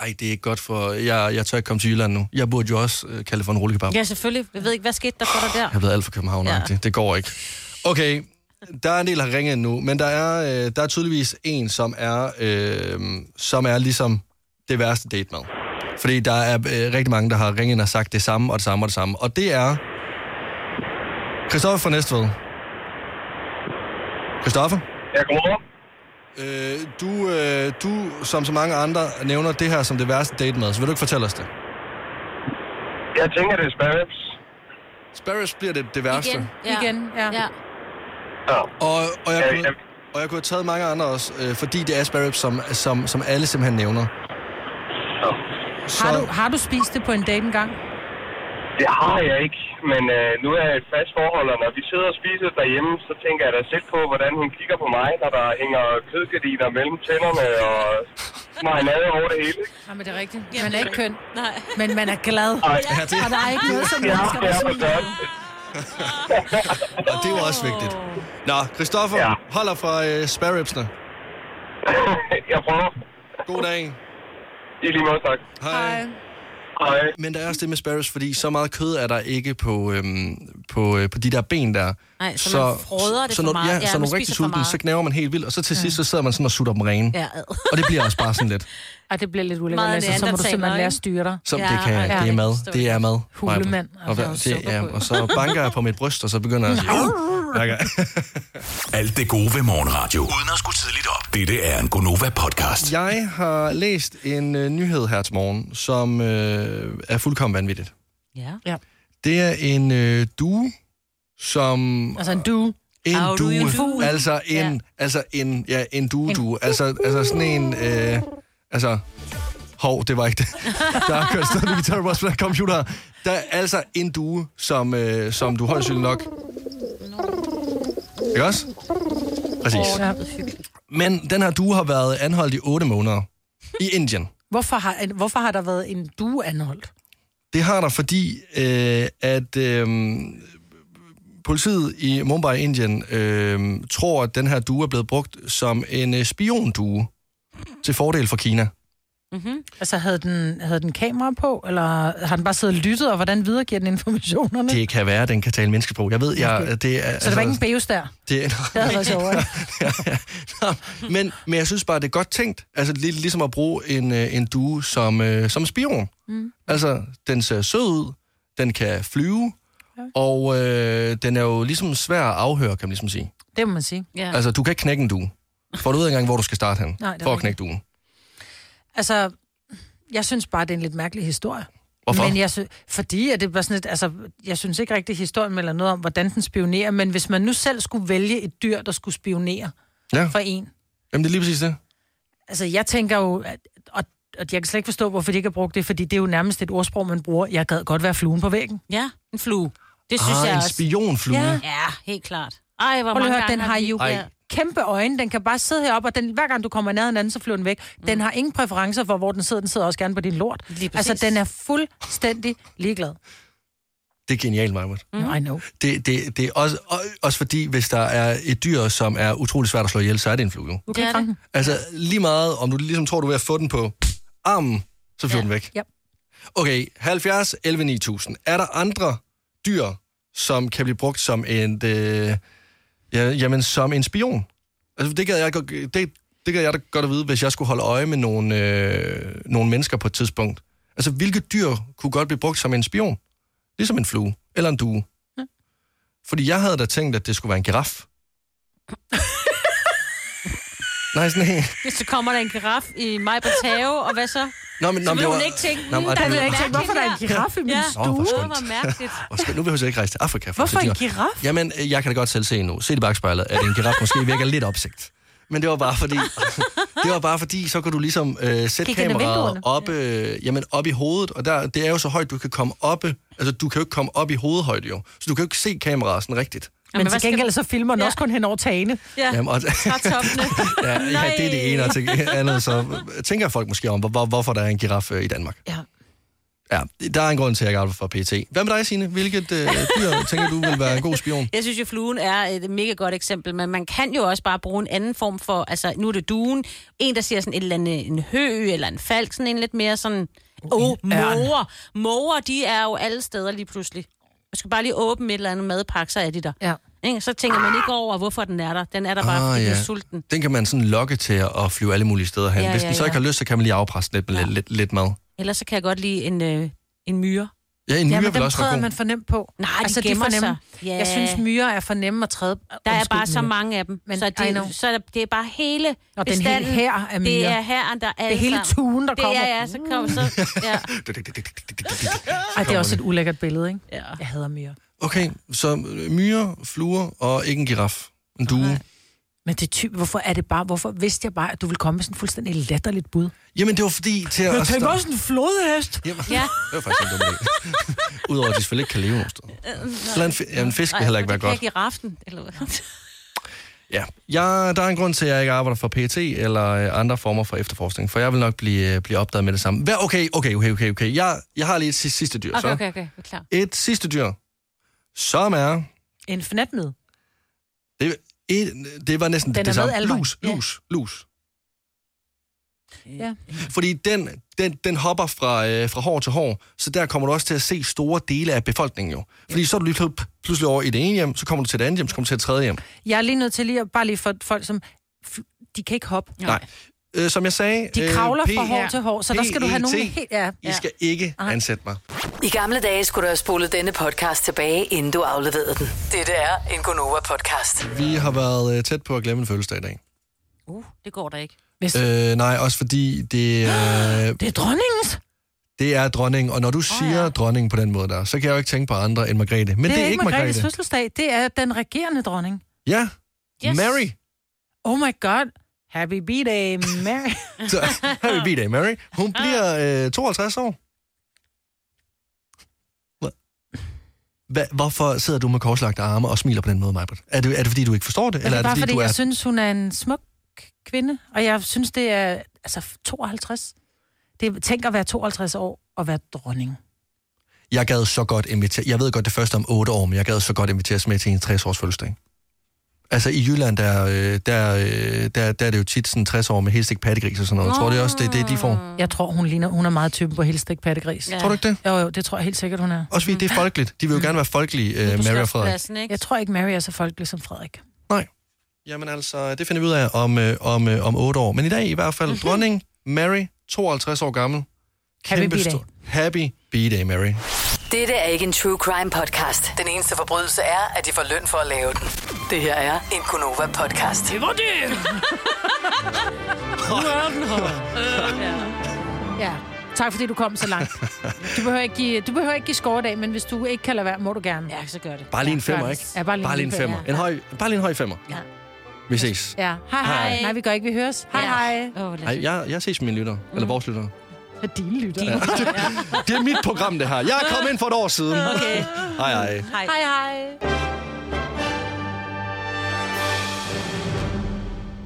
S1: Ej, det er ikke godt for... Jeg, jeg tør ikke komme til Jylland nu. Jeg burde jo også øh, kalde det for en rullekebab.
S4: Ja, selvfølgelig. Jeg ved ikke, hvad skete der for dig der?
S1: Jeg er blevet alt for københavn ja. Det går ikke. Okay, der er en del, der har ringet nu, men der er, øh, der er tydeligvis en, som er, øh, som er ligesom det værste date med. Fordi der er øh, rigtig mange, der har ringet ind og sagt det samme, og det samme, og det samme. Og det er... Christoffer fra Næstved. Christoffer?
S10: Ja, godmorgen.
S1: Øh, du, øh, du, som så mange andre, nævner det her som det værste date med, så vil du ikke fortælle os det?
S10: Jeg tænker, det er spare ribs.
S1: Spare ribs bliver det, det værste.
S3: Igen, ja. (laughs) Igen, ja. ja.
S10: Ja.
S1: Og, og, jeg kunne, og jeg kunne have taget mange andre også, øh, fordi det er spare ribs, som, som, som alle simpelthen nævner.
S3: Så... Har, du, har du spist det på en date engang?
S10: Det har jeg ikke, men øh, nu er jeg i et fast forhold, og når vi sidder og spiser derhjemme, så tænker jeg da selv på, hvordan hun kigger på mig, når der hænger kødgardiner mellem tænderne og marinade over det hele. ikke?
S3: Ja, men det er rigtigt. Man er ikke køn, Nej. men man er glad. Og der er
S1: (laughs)
S3: ikke noget, som
S10: Ja,
S3: mennesker
S10: det er
S3: der (laughs)
S10: for
S3: smiler.
S1: Og det er jo også vigtigt. Nå, Christoffer ja. holder fra øh, spare ribsene.
S10: jeg prøver.
S1: God dag.
S10: I lige måde, tak.
S1: Hej.
S10: Hej.
S1: Men der er også det med spare ribs, fordi så meget kød er der ikke på, øhm, på, øh, på de der ben der.
S4: Nej, så man froder det for
S1: så når,
S4: meget.
S1: Ja,
S4: Ja,
S1: så
S4: man
S1: når du er rigtig
S4: spiser for
S1: sulten,
S4: meget.
S1: så knæver man helt vildt, og så til sidst, så sidder man sådan og sutter dem rene.
S4: Ja, ad.
S1: Og det bliver også bare sådan lidt.
S3: Ej, det bliver lidt ulækkert,
S4: Meget
S3: Lasse. Så må du
S4: neandertaler,
S3: simpelthen lære at
S4: ikke?
S3: styre dig.
S1: Som ja, det kan, ja, det er mad. Det er mad.
S3: Hulemand,
S1: Og,
S3: altså,
S1: og, det, ja,
S3: sukkerbrød.
S1: og så banker jeg på mit bryst, og så begynder jeg at sige... "Au!" Jeg kan-
S5: Alt det gode ved morgenradio. Uden at skulle tidligt op. Dette er en
S1: (laughs)
S5: Gonova-podcast.
S1: Jeg har læst en øh, nyhed her til morgen, som øh, er fuldkommen vanvittigt.
S4: Ja.
S3: ja.
S1: Det er en øh, due, som...
S3: Altså en due.
S1: En
S3: Au, du er en
S1: due.
S3: fugl.
S1: Altså en,
S3: Ja.
S1: altså en, ja, en due-due. Altså, altså sådan en, øh, altså... Hov, det
S3: (laughs)
S1: var ikke det. Der er kørt stadig guitar på den computer. Der er altså en due, som, øh, som du højst sandsynligt nok... Ikke også? Præcis.
S3: Ja.
S1: Men den her due har været anholdt i 8 måneder i Indien.
S3: Hvorfor har, en- hvorfor har der været en due anholdt?
S1: Det har der, fordi øh, at øh, politiet i Mumbai, Indien, øh, tror, at den her due er blevet brugt som en øh, spiondue til fordel for Kina.
S3: Mm-hmm. Altså, havde den, havde den kamera på, eller har den bare siddet og lyttet, og hvordan videregiver den informationerne?
S1: Det kan være, at den kan tale menneskesprog. Jeg ved, jeg, det er... altså,
S3: Så der var ikke en bæves der?
S1: det, (laughs)
S3: Det havde været sjovere.
S4: (laughs)
S1: men, men jeg synes bare, det er godt tænkt. Altså, lig- ligesom at bruge en, øh, en due som, øh, som spion.
S3: Mm.
S1: Altså, den ser sød ud, den kan flyve, og øh, den er jo ligesom svær at afhøre, kan man ligesom sige.
S3: Det må man sige. Ja.
S1: Altså, du kan ikke knække en due. Får du ud engang, hvor du skal starte hen,
S3: Nej, det er
S1: for at
S3: rigtigt.
S1: knække duen.
S3: Altså, jeg synes bare, det er en lidt mærkelig historie.
S1: Hvorfor?
S3: Men jeg sy- fordi at det var sådan et, altså, jeg synes ikke rigtig, historien melder noget om, hvordan den spionerer, men hvis man nu selv skulle vælge et dyr, der skulle spionere
S1: Ja.
S3: for en.
S1: Jamen, det er lige præcis det.
S3: Altså, jeg tænker jo, at, og, og jeg kan slet ikke forstå, hvorfor de ikke har brugt det, fordi det er jo nærmest et ordsprog, man bruger. Jeg gad godt være fluen på væggen.
S4: Ja, en flue. Det synes
S1: ah,
S4: jeg
S1: en
S4: også.
S1: spionflue.
S4: Ja. ja, helt klart. Ej, hvor
S3: Prøv lige
S4: mange
S3: at høre, den
S4: gange
S3: har jo
S1: Ej.
S3: kæmpe øjne. Den kan bare sidde heroppe, og den, hver gang du kommer i nærheden af den, så flyver den væk. Den har ingen præferencer for, hvor den sidder. Den sidder også gerne på din lort. Altså, den er fuldstændig ligeglad.
S1: Det er genialt, Marmot.
S3: Mm. I know.
S1: Det, det, det er også, og- også fordi, hvis der er et dyr, som er utrolig svært at slå ihjel, så er det en flue. jo.
S3: Du kan ikke fange den.
S1: Altså, lige meget, om du ligesom tror, du er ved at få den på armen, så flyver ja. den væk.
S3: Ja.
S1: Okay, 70, 11, 9000. Er der andre dyr, som kan blive brugt som en, øh, ja, jamen, som en spion? Altså, det gad jeg, godt- det, det gad jeg da godt at vide, hvis jeg skulle holde øje med nogle, øh, nogle mennesker på et tidspunkt. Altså, hvilke dyr kunne godt blive brugt som en spion? Ligesom en flue eller en due.
S3: Ja.
S1: Fordi jeg havde da tænkt, at det skulle være en giraf. Nej, sådan en...
S4: Hvis der kommer der en giraf i mig på have, og hvad så?
S1: Nå, men, nå,
S4: så ville
S1: men det
S4: hun
S1: var-
S4: ikke tænke,
S1: Nå,
S4: mm,
S1: men det
S4: der er
S1: var-
S4: noget
S1: Jeg tænkte,
S3: hvorfor der er en
S4: mærkeligt
S3: giraf i min
S4: her.
S3: stue?
S4: Ja,
S1: Åh, hvor
S4: det
S1: skønt.
S4: var (laughs) mærkeligt.
S1: Og skal, nu vil jeg så ikke rejse til Afrika. For
S3: Hvorfor
S1: at se
S3: en
S1: dyr.
S3: giraf?
S1: Jamen, øh, jeg kan da godt selv se nu. Se i bagspejlet, at en giraf måske virker lidt opsigt. Men det var bare
S3: (laughs)
S1: fordi, det var bare fordi så kunne du ligesom øh, sætte
S3: Gik ind ad
S1: kameraet
S3: vinduerne.
S1: op, øh, jamen, op i hovedet, og der, det er jo så højt, du kan komme op. Altså, du kan jo ikke komme op i hovedhøjde jo. Så du kan jo ikke se kameraet sådan rigtigt.
S3: Men til gengæld så filmer den også kun hen over tagene.
S4: Ja,
S3: (laughs)
S1: Jamen, og-
S4: (laughs)
S1: Fra
S4: toppene.
S1: Ja, ja det er det ene, og tænk, andet, så øh, tænker folk måske om, hvor- hvor, hvorfor der er en giraf øh, i Danmark.
S3: Ja.
S1: Ja, der er en grund til, at jeg ikke arbejder for PT. Hvad med dig, Signe? Hvilket øh, dyr tænker du vil være en god spion?
S4: Jeg synes jo, fluen er et mega godt eksempel, men man kan jo også bare bruge en anden form for, altså nu er det duen, en der siger sådan et eller andet, en hø eller en falk, sådan en lidt mere sådan, åh, oh,
S3: ørn.
S4: måger. Måger, de er jo alle steder lige pludselig. Jeg skal bare lige åbne et eller andet madpakke, så er de der.
S3: Ja.
S4: Ikke? Så tænker man ikke over, hvorfor den er der. Den er der bare, fordi den er sulten.
S1: Den kan man sådan lokke til at- at flyve alle mulige steder hen.
S4: Ja,
S1: Ja, Hvis
S4: ja,
S1: den så
S4: ja.
S1: ikke har lyst, så kan man lige afpresse den lidt med ja. lidt, lidt mad.
S4: Ellers så kan jeg godt lide en, øh, en myre.
S1: Ja, en myre
S3: men
S1: vil
S3: dem
S1: også være
S3: træder
S1: god.
S3: man for nemt på.
S4: Nej, de gemmer
S3: for nemme.
S4: sig. Ja.
S3: Jeg synes, myrer er for nemme at træde.
S4: Der er
S3: Undskyld,
S4: bare så
S3: Mille.
S4: mange af dem. Men, så
S3: I know.
S4: det, så er der- det er bare hele
S3: Og den
S4: bestanden.
S3: hele hær af myrer.
S4: Det er herren, der er
S3: Det er
S4: alle
S3: hele
S4: sammen.
S3: tunen, der
S4: det, altså.
S3: kommer. Mm.
S4: Ja, ja, så kommer så... Ja.
S3: Ej, det er også et ulækkert billede, ikke? (laughs) Ja. Jeg hader myrer.
S1: Okay, så øh, myre, fluer og ikke en giraf. En due.
S3: Men det er typ, hvorfor er det bare, hvorfor vidste jeg bare, at du ville komme med sådan fuldstændig latterligt bud?
S1: Jamen, det var fordi til at...
S3: Jeg tænkte
S1: starte-
S3: også en flodhest.
S1: Jamen,
S3: Ja. Øh,
S1: Det var faktisk en dum idé. Udover at de selvfølgelig ikke kan leve nogen steder. Eller en, fi- ja, en fisk vil
S4: Nej,
S1: heller ikke
S4: for
S1: være
S4: det kan
S1: godt.
S4: Jeg give raften, eller hvad?
S1: Ja, jeg, der er en grund til, at jeg ikke arbejder for PT eller øh, andre former for efterforskning, for jeg vil nok blive, øh, blive opdaget med det samme. Hvad? Okay, okay, okay, okay, okay. Jeg, jeg har lige et si- sidste dyr, så.
S3: Okay, okay, okay, er klar.
S1: Et sidste dyr, som er...
S3: En fnatmed.
S1: Det, et, det var næsten
S3: Den er
S1: det samme.
S3: med alle vejen.
S1: lus,
S3: Ja.
S1: lus, lus.
S3: Ja.
S1: Fordi den, den, den hopper fra, øh, fra hår til hår, så der kommer du også til at se store dele af befolkningen jo. Fordi så er du lige pl- pludselig over i det ene hjem, så kommer du til det andet hjem, så kommer du til det tredje hjem.
S3: Jeg er lige nødt til lige at, bare lige for folk, som f- de kan ikke hoppe.
S1: Nej. Øh, som jeg sagde...
S3: De
S1: øh,
S3: kravler
S1: P-
S3: fra hår til hår, så der skal du have nogle
S1: PET.
S3: helt... Ja,
S1: I
S3: ja.
S1: skal ikke
S3: Aha.
S1: ansætte mig.
S7: I gamle dage skulle du have spolet denne podcast tilbage, inden du afleverede den. Dette er en Gonova-podcast.
S1: Vi har været øh, tæt på at glemme en fødselsdag i dag.
S4: Uh, det går da ikke.
S1: Øh, nej, også fordi det...
S3: (gasps)
S1: Øh,
S3: det er dronningens!
S1: Det er dronningen, og når du siger oh, ja. dronningen på den måde der, så kan jeg jo ikke tænke på andre end Margrethe. Men det er, det er ikke Margrethe.
S3: Margrethes fødselsdag, det er den regerende dronning.
S1: Ja, yes. Mary.
S3: Oh my god. Happy birthday, Mary.
S1: Så, (laughs) happy birthday, Mary. Hun bliver øh, 52 år. Hva, hvorfor sidder du med korslagte arme og smiler på den måde, Majbert? Er det, er det fordi, du ikke forstår det?
S3: Men det er
S1: eller er det
S3: bare
S1: fordi,
S3: fordi,
S1: du er...
S3: jeg synes, hun er en smuk kvinde, og jeg synes, det er altså 52. Det, er- tænk at være 52 år og være dronning.
S1: jeg gad så godt invitere... Jeg ved godt, det første om 8 år, men jeg gad så godt inviteres med til en 60-års fødselsdag. Altså i Jylland, der, øh, der, øh, der, der er det jo tit sådan 60 år med helt stik pattegris og sådan noget. Oh. Tror du også, det er det, de får?
S3: Jeg tror, hun ligner, hun er meget typen på helstegt pattegris.
S1: Tror du ikke det?
S3: Jo, jo, det tror jeg helt sikkert, hun er.
S1: Også fordi det
S3: Mm.
S1: er folkeligt. De vil jo gerne være folkelige, øh, Mary og Frederik.
S3: Jeg tror ikke, Mary er så folkelig som Frederik.
S1: Jamen altså, det finder vi ud af om, øh, om, øh, om 8 år. Men i dag i hvert fald,
S3: Mhm.
S1: mm-hmm. dronning Mary, 52 år gammel.
S7: Happy
S1: Kæmpe
S7: B-day.
S1: stor- Happy B-day, Mary.
S7: Dette er ikke en true crime podcast. Den eneste forbrydelse er, at de får løn for at lave den. Det her er en Gonova-podcast. Det var det!
S3: Nu er den Ja. Tak fordi du kom så (laughs) langt. Du behøver ikke give, du behøver ikke give score i dag, men hvis du ikke kan lade være, må du gerne.
S4: Ja, så gør det.
S1: Bare lige en femmer, ikke?
S3: Ja, bare lige,
S1: bare lige en femmer. En høj, bare lige en høj femmer.
S3: Ja.
S1: Vi ses.
S3: Ja. Hej, hej,
S1: Hej.
S3: hej. Nej, vi gør ikke, vi høres. Hej, hej. Oh,
S1: Ej, jeg, jeg ses med mine lyttere.
S3: Mm.
S1: Eller vores lyttere.
S3: Ja, dine lytter.
S1: Ja. Det er mit program, det her. Jeg er kommet ind for et år siden. Okay. Hej, hej.
S3: Hej, hej.